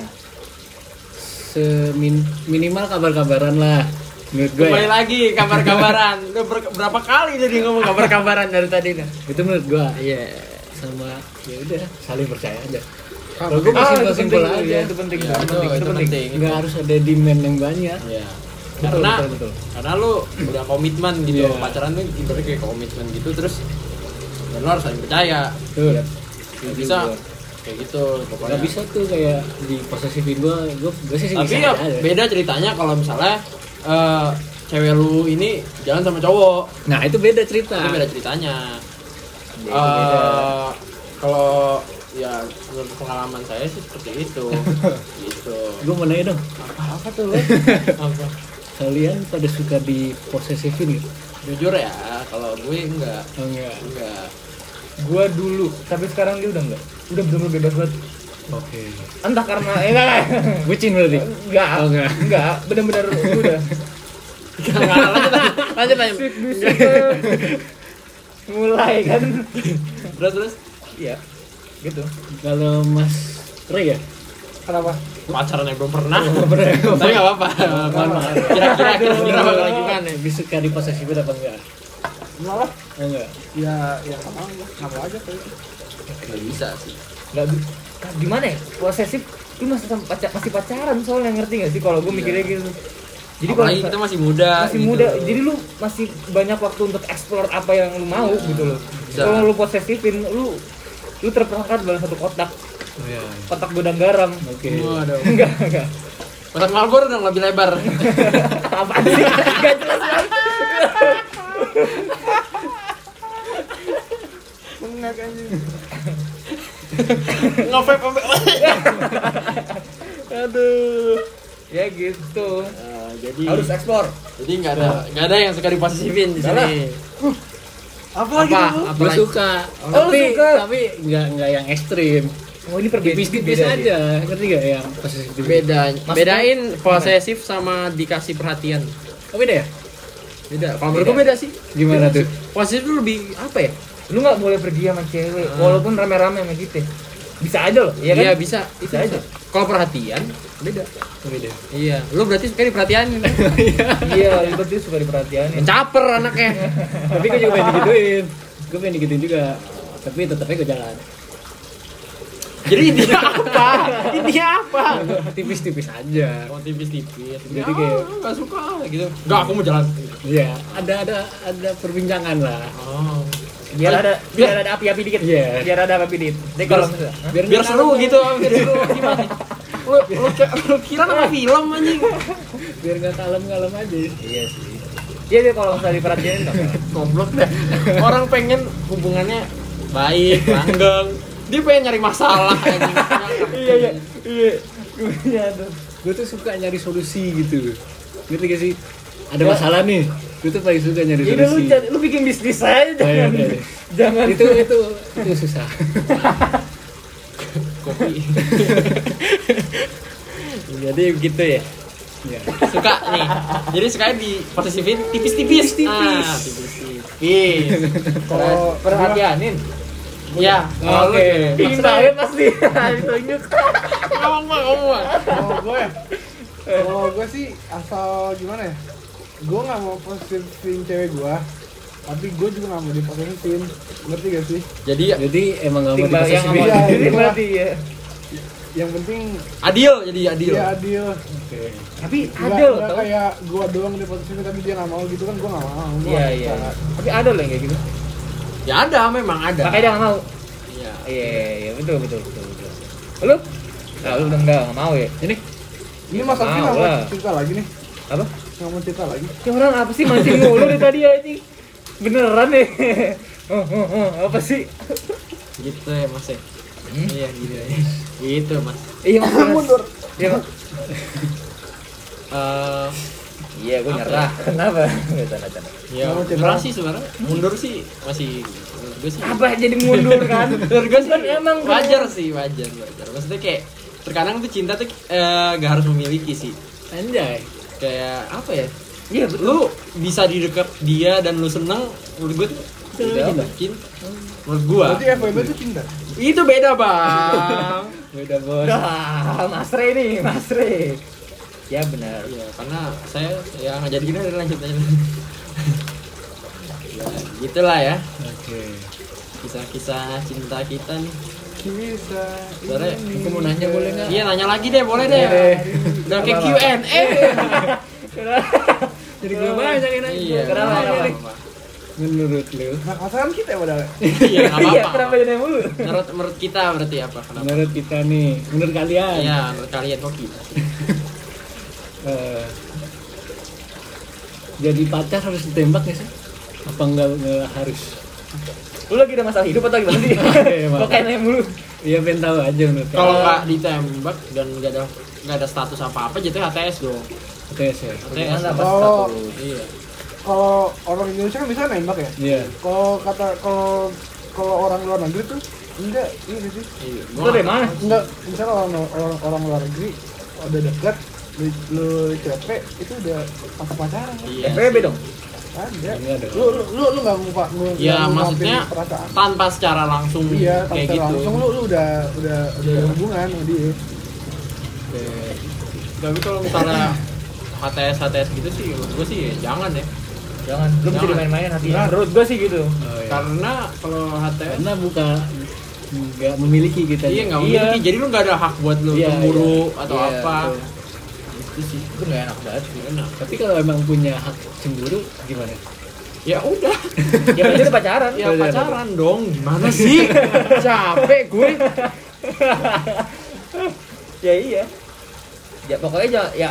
[SPEAKER 5] semin minimal kabar-kabaran lah. Menurut gue.
[SPEAKER 3] kembali
[SPEAKER 5] Ya.
[SPEAKER 3] lagi kabar-kabaran Udah ber- berapa kali jadi ngomong kabar-kabaran dari tadi nih
[SPEAKER 5] Itu menurut gue
[SPEAKER 3] iya
[SPEAKER 5] sama ya udah saling percaya aja.
[SPEAKER 4] Kabar.
[SPEAKER 5] Kalau gue
[SPEAKER 2] Ah,
[SPEAKER 5] masih
[SPEAKER 2] itu
[SPEAKER 5] simpel
[SPEAKER 2] penting
[SPEAKER 5] aja.
[SPEAKER 2] iya, itu penting itu penting itu penting
[SPEAKER 5] nggak harus ada demand yang banyak
[SPEAKER 3] Iya.
[SPEAKER 2] betul
[SPEAKER 3] karena
[SPEAKER 2] betul betul
[SPEAKER 3] karena lu udah komitmen gitu
[SPEAKER 5] Iya.
[SPEAKER 3] pacaran tuh ibaratnya kayak komitmen gitu terus ya lu harus saling percaya
[SPEAKER 5] tuh
[SPEAKER 3] Gak bisa kayak gitu pokoknya
[SPEAKER 5] nggak bisa tuh kayak di posesifin gue gue gue sih
[SPEAKER 3] tapi
[SPEAKER 5] bisa
[SPEAKER 3] ya
[SPEAKER 5] aja.
[SPEAKER 3] beda ceritanya kalau misalnya eh, cewek lu ini jalan sama cowok
[SPEAKER 5] nah itu beda cerita
[SPEAKER 3] itu beda ceritanya
[SPEAKER 2] Ya, itu beda.
[SPEAKER 3] Eh, kalau ya menurut pengalaman saya sih seperti itu gitu
[SPEAKER 5] gue mau nanya dong
[SPEAKER 3] apa apa tuh lu? apa
[SPEAKER 5] kalian pada suka di posesifin gitu
[SPEAKER 3] jujur ya kalau gue enggak
[SPEAKER 5] oh, enggak
[SPEAKER 3] enggak
[SPEAKER 2] gua dulu tapi sekarang dia udah enggak udah bener-bener bebas banget
[SPEAKER 5] oke
[SPEAKER 2] entah karena eh, enggak enggak.
[SPEAKER 5] bucin berarti
[SPEAKER 2] enggak
[SPEAKER 5] Oh, enggak.
[SPEAKER 2] enggak bener-bener udah
[SPEAKER 3] Enggak, lanjut lanjut lanjut lanjut
[SPEAKER 2] Bisik, bisik, eh. mulai kan
[SPEAKER 3] terus terus
[SPEAKER 2] iya gitu
[SPEAKER 5] kalau mas Rey ya
[SPEAKER 2] kenapa
[SPEAKER 3] pacaran yang belum pernah tapi nggak apa-apa kira-kira gitu. kira-kira bakal gimana
[SPEAKER 5] lebih suka di posesifin apa enggak
[SPEAKER 4] Malah
[SPEAKER 5] oh, enggak
[SPEAKER 4] ya ya sama aja, sama aja kayak
[SPEAKER 3] nggak bisa sih
[SPEAKER 2] nggak bi- Kak, gimana ya posesif lu masih sama pacar masih pacaran soalnya ngerti gak sih kalau gue mikirnya gitu jadi
[SPEAKER 3] jadi
[SPEAKER 2] kalau
[SPEAKER 3] apalagi
[SPEAKER 2] misal-
[SPEAKER 3] kita masih muda
[SPEAKER 2] masih
[SPEAKER 3] gitu.
[SPEAKER 2] muda jadi lu masih banyak waktu untuk explore apa yang lu mau gitu loh
[SPEAKER 3] bisa.
[SPEAKER 2] kalau lu posesifin lu lu terperangkap dalam satu kotak
[SPEAKER 5] oh, iya.
[SPEAKER 2] kotak gudang garam
[SPEAKER 5] oke
[SPEAKER 3] waduh
[SPEAKER 2] enggak enggak
[SPEAKER 3] Kotak Marlboro dong lebih lebar
[SPEAKER 2] apa sih gak jelas banget
[SPEAKER 3] nge-vape sampai-
[SPEAKER 2] aduh ya gitu
[SPEAKER 3] Eh, jadi
[SPEAKER 2] harus explore
[SPEAKER 3] jadi nggak ada nggak ada yang suka diposesifin di
[SPEAKER 2] Nggak
[SPEAKER 3] sini Uh. apa
[SPEAKER 5] apa
[SPEAKER 3] apa
[SPEAKER 5] gue suka
[SPEAKER 2] Oh, lu
[SPEAKER 5] tapi
[SPEAKER 2] suka.
[SPEAKER 5] tapi enggak enggak yang ekstrim
[SPEAKER 2] oh ini perbedaan
[SPEAKER 5] tipis-tipis
[SPEAKER 2] beda dia.
[SPEAKER 5] aja ngerti gak yang posesif
[SPEAKER 3] beda
[SPEAKER 2] Maksudnya-
[SPEAKER 3] bedain posesif sama dikasih perhatian
[SPEAKER 5] oh, beda ya
[SPEAKER 3] beda kalau menurut gue beda sih
[SPEAKER 5] gimana tuh
[SPEAKER 3] posesif tuh lebih apa ya
[SPEAKER 2] lu nggak boleh pergi sama cewek walaupun rame-rame sama gitu bisa aja loh
[SPEAKER 3] iya
[SPEAKER 2] Hmm. iya kan
[SPEAKER 3] bisa
[SPEAKER 2] bisa aja
[SPEAKER 3] kalau perhatian beda
[SPEAKER 5] beda
[SPEAKER 3] iya lu berarti suka diperhatiin
[SPEAKER 2] iya ribet dia suka diperhatiin
[SPEAKER 3] mencaper anaknya
[SPEAKER 5] tapi gue juga pengen digituin gue pengen digituin juga tapi tetapnya gue jalan
[SPEAKER 3] jadi intinya apa intinya apa
[SPEAKER 5] tipis-tipis aja
[SPEAKER 3] mau tipis-tipis
[SPEAKER 5] Jadi
[SPEAKER 3] jadi
[SPEAKER 5] kayak-
[SPEAKER 3] kayak nggak suka gitu nggak aku mau jalan
[SPEAKER 2] Ya.
[SPEAKER 5] iya ada ada ada perbincangan lah
[SPEAKER 3] oh
[SPEAKER 2] biar ada biar ada api-api dikit
[SPEAKER 5] Iya.
[SPEAKER 2] biar ada api dikit deh kalau misalnya Hah?
[SPEAKER 3] biar
[SPEAKER 5] nggak
[SPEAKER 3] seru
[SPEAKER 5] tahu,
[SPEAKER 3] gitu biar seru gimana lu lu, kayak- lu kira nama film anjing
[SPEAKER 5] biar nggak kalem kalem aja
[SPEAKER 2] iya sih iya deh kalau misalnya diperhatiin nggak apa-apa.
[SPEAKER 3] goblok deh orang pengen hubungannya baik langgeng dia pengen nyari masalah anjing
[SPEAKER 2] iya iya iya iya tuh
[SPEAKER 5] gue tuh suka nyari solusi gitu ngerti gak sih ada masalah nih gue tuh paling suka nyari
[SPEAKER 2] Iya, udah, Ya. lu
[SPEAKER 5] solusi
[SPEAKER 2] jangan- lu bikin bisnis aja
[SPEAKER 5] iya,
[SPEAKER 2] jangan
[SPEAKER 5] iya, iya.
[SPEAKER 2] jangan
[SPEAKER 5] itu itu itu susah
[SPEAKER 3] kopi jadi begitu ya
[SPEAKER 5] ya
[SPEAKER 3] suka nih jadi sukanya di posesifin tipis-tipis
[SPEAKER 5] Tipis-tipis.
[SPEAKER 3] Ah, tipis-tipis Nah,
[SPEAKER 2] kalau perhatianin
[SPEAKER 3] ya kalau
[SPEAKER 5] Oke.
[SPEAKER 3] lu
[SPEAKER 2] bikin saya pasti ditunjuk
[SPEAKER 3] ngomong Bang, ngomong Bang.
[SPEAKER 4] Kalau gue ya,
[SPEAKER 3] Eh.
[SPEAKER 4] kalau gue sih asal gimana ya? Gue nggak mau posesifin cewek gue, tapi gue juga nggak mau diposesifin. Ngerti gak sih?
[SPEAKER 3] jadi
[SPEAKER 5] jadi emang nggak mau
[SPEAKER 2] timbal yang
[SPEAKER 5] diposesifin
[SPEAKER 2] sama
[SPEAKER 4] Iya,
[SPEAKER 2] diri
[SPEAKER 4] iya.
[SPEAKER 2] berarti ya
[SPEAKER 4] Yang penting
[SPEAKER 3] adil jadi adil
[SPEAKER 4] dia adil.
[SPEAKER 5] Oke.
[SPEAKER 2] tapi
[SPEAKER 4] Nggak-
[SPEAKER 2] ada loh
[SPEAKER 4] nggak
[SPEAKER 2] tau.
[SPEAKER 4] kayak gue doang diposesifin tapi dia nggak mau gitu kan gue nggak mau. Gua
[SPEAKER 2] iya
[SPEAKER 4] nggak
[SPEAKER 2] iya
[SPEAKER 4] suka.
[SPEAKER 2] tapi ada loh yang kayak gitu
[SPEAKER 3] ya ada memang ada
[SPEAKER 2] makanya dia nggak mau
[SPEAKER 3] Iya.
[SPEAKER 2] iya iya, iya betul betul betul betul lu Nah, lu udah nggak nggak mau ya
[SPEAKER 5] ini
[SPEAKER 4] Ini mas Alvin
[SPEAKER 2] Mau
[SPEAKER 4] nggak mau
[SPEAKER 2] lah.
[SPEAKER 4] cerita lagi nih?
[SPEAKER 2] apa
[SPEAKER 4] Nggak mau cerita lagi?
[SPEAKER 2] Ya orang apa sih mancing mulu dari tadi anjing? Beneran deh. Oh, oh, oh, apa sih?
[SPEAKER 3] gitu ya mas ya iya gitu ya gitu mas
[SPEAKER 2] Iya, Mas.
[SPEAKER 4] Mundur.
[SPEAKER 2] Iya, Mas.
[SPEAKER 3] Eh,
[SPEAKER 2] Iya, gue
[SPEAKER 3] Apa
[SPEAKER 2] nyerah. Kenapa? Gak canda-canda.
[SPEAKER 3] ya
[SPEAKER 4] Kamu
[SPEAKER 3] nyerah
[SPEAKER 4] cedera.
[SPEAKER 3] sih sebenarnya mundur sih masih menurut gue sih
[SPEAKER 2] Apa jadi mundur kan?
[SPEAKER 3] menurut gue sih
[SPEAKER 2] Kan emang gue-
[SPEAKER 3] wajar sih wajar wajar maksudnya kayak terkadang tuh cinta tuh eh, gak harus memiliki sih
[SPEAKER 5] Anjay.
[SPEAKER 3] kayak apa ya
[SPEAKER 2] Iya, betul.
[SPEAKER 3] lu bisa di dekat dia dan lu seneng menurut gue tuh
[SPEAKER 5] Itu namanya cinta?
[SPEAKER 3] mungkin menurut gua
[SPEAKER 4] Berarti
[SPEAKER 2] Ah,
[SPEAKER 4] FWB itu cinta.
[SPEAKER 3] itu beda bang
[SPEAKER 5] Beda bos.
[SPEAKER 2] Dah, Ah, Mas Rey nih, Mas Rey. Ya benar.
[SPEAKER 3] Iya, karena saya ya nggak jadi gini udah lanjut aja. ya, gitulah ya
[SPEAKER 5] Oke.
[SPEAKER 3] kisah-kisah cinta kita nih.
[SPEAKER 4] Bisa.
[SPEAKER 3] Sebenarnya
[SPEAKER 5] Aku mau nanya boleh nggak?
[SPEAKER 3] iya nanya lagi deh, boleh deh. Udah kayak Q&A.
[SPEAKER 5] Jadi gue banyak yang nanya.
[SPEAKER 3] Iya,
[SPEAKER 2] Kenapa,
[SPEAKER 3] kenapa?
[SPEAKER 2] kenapa?
[SPEAKER 3] kenapa?
[SPEAKER 5] Menurut lu,
[SPEAKER 4] Nah, masakan kita padahal.
[SPEAKER 3] Iya, nggak
[SPEAKER 2] Iya, kenapa
[SPEAKER 3] apa-apa.
[SPEAKER 2] jadi mulu?
[SPEAKER 3] Menurut menurut kita berarti apa? Kenapa?
[SPEAKER 5] menurut kita nih, menurut kalian,
[SPEAKER 2] Ya.
[SPEAKER 3] Iya, menurut kalian kok kita sih?
[SPEAKER 5] eh, jadi pacar harus ditembak nggak sih? Apa nggak nggak harus?
[SPEAKER 2] Lu lagi ada masalah hidup atau gimana sih?
[SPEAKER 5] Iya, maaf.
[SPEAKER 2] Kok kayak nanya mulu?
[SPEAKER 5] Iya pengen tahu aja menurut
[SPEAKER 3] Kalau
[SPEAKER 5] kalian.
[SPEAKER 3] nggak ditembak dan nggak ada nggak ada status apa-apa, jatuh HTS dong.
[SPEAKER 5] Oke sih.
[SPEAKER 3] HTS.
[SPEAKER 2] Gimana,
[SPEAKER 3] dong.
[SPEAKER 2] Mas?
[SPEAKER 4] Oh.
[SPEAKER 2] Status.
[SPEAKER 3] Iya.
[SPEAKER 4] Kalau orang Indonesia kan bisa nembak ya.
[SPEAKER 5] Iya.
[SPEAKER 4] Kalau kata kalau kalau orang luar negeri tuh enggak ini sih.
[SPEAKER 3] Iya.
[SPEAKER 2] Lu
[SPEAKER 3] Gua
[SPEAKER 2] dari mana?
[SPEAKER 4] Enggak, misalnya orang orang, orang luar negeri udah dekat lu, lu capek itu udah apa pacaran kan?
[SPEAKER 3] Iya.
[SPEAKER 2] FWB dong.
[SPEAKER 4] ada
[SPEAKER 5] Iya dong.
[SPEAKER 4] lu lu lu, lu nggak ngungkap nggak
[SPEAKER 3] Ya,
[SPEAKER 4] ngungkapin
[SPEAKER 3] maksudnya
[SPEAKER 4] perasaan
[SPEAKER 3] tanpa secara langsung
[SPEAKER 4] iya
[SPEAKER 3] kayak
[SPEAKER 4] tanpa
[SPEAKER 3] gitu.
[SPEAKER 4] langsung lu lu udah udah udah ada hubungan sama dia
[SPEAKER 3] Tapi kalau misalnya HTS HTS gitu sih, menurut gue sih ya jangan ya.
[SPEAKER 2] Jangan, lu bisa
[SPEAKER 3] Jangan.
[SPEAKER 2] dimain-mainin hatinya.
[SPEAKER 4] Jangan.
[SPEAKER 2] Menurut gua sih gitu.
[SPEAKER 5] Oh, iya.
[SPEAKER 3] Karena kalau HTS
[SPEAKER 5] Karena bukan nggak memiliki kita.
[SPEAKER 3] iya nggak
[SPEAKER 2] Iya.
[SPEAKER 3] memiliki, jadi lu nggak ada hak buat lu
[SPEAKER 5] Iya,
[SPEAKER 3] cemburu atau
[SPEAKER 5] Iya,
[SPEAKER 3] apa.
[SPEAKER 5] betul.
[SPEAKER 3] Itu sih
[SPEAKER 2] Itu gak enak banget.
[SPEAKER 3] nggak enak.
[SPEAKER 5] Tapi kalau emang punya hak cemburu gimana?
[SPEAKER 3] Ya udah,
[SPEAKER 2] Ya berarti itu pacaran.
[SPEAKER 3] ya
[SPEAKER 2] iya.
[SPEAKER 3] pacaran dong. Gimana sih? Capek gue.
[SPEAKER 2] ya iya ya pokoknya jangan ya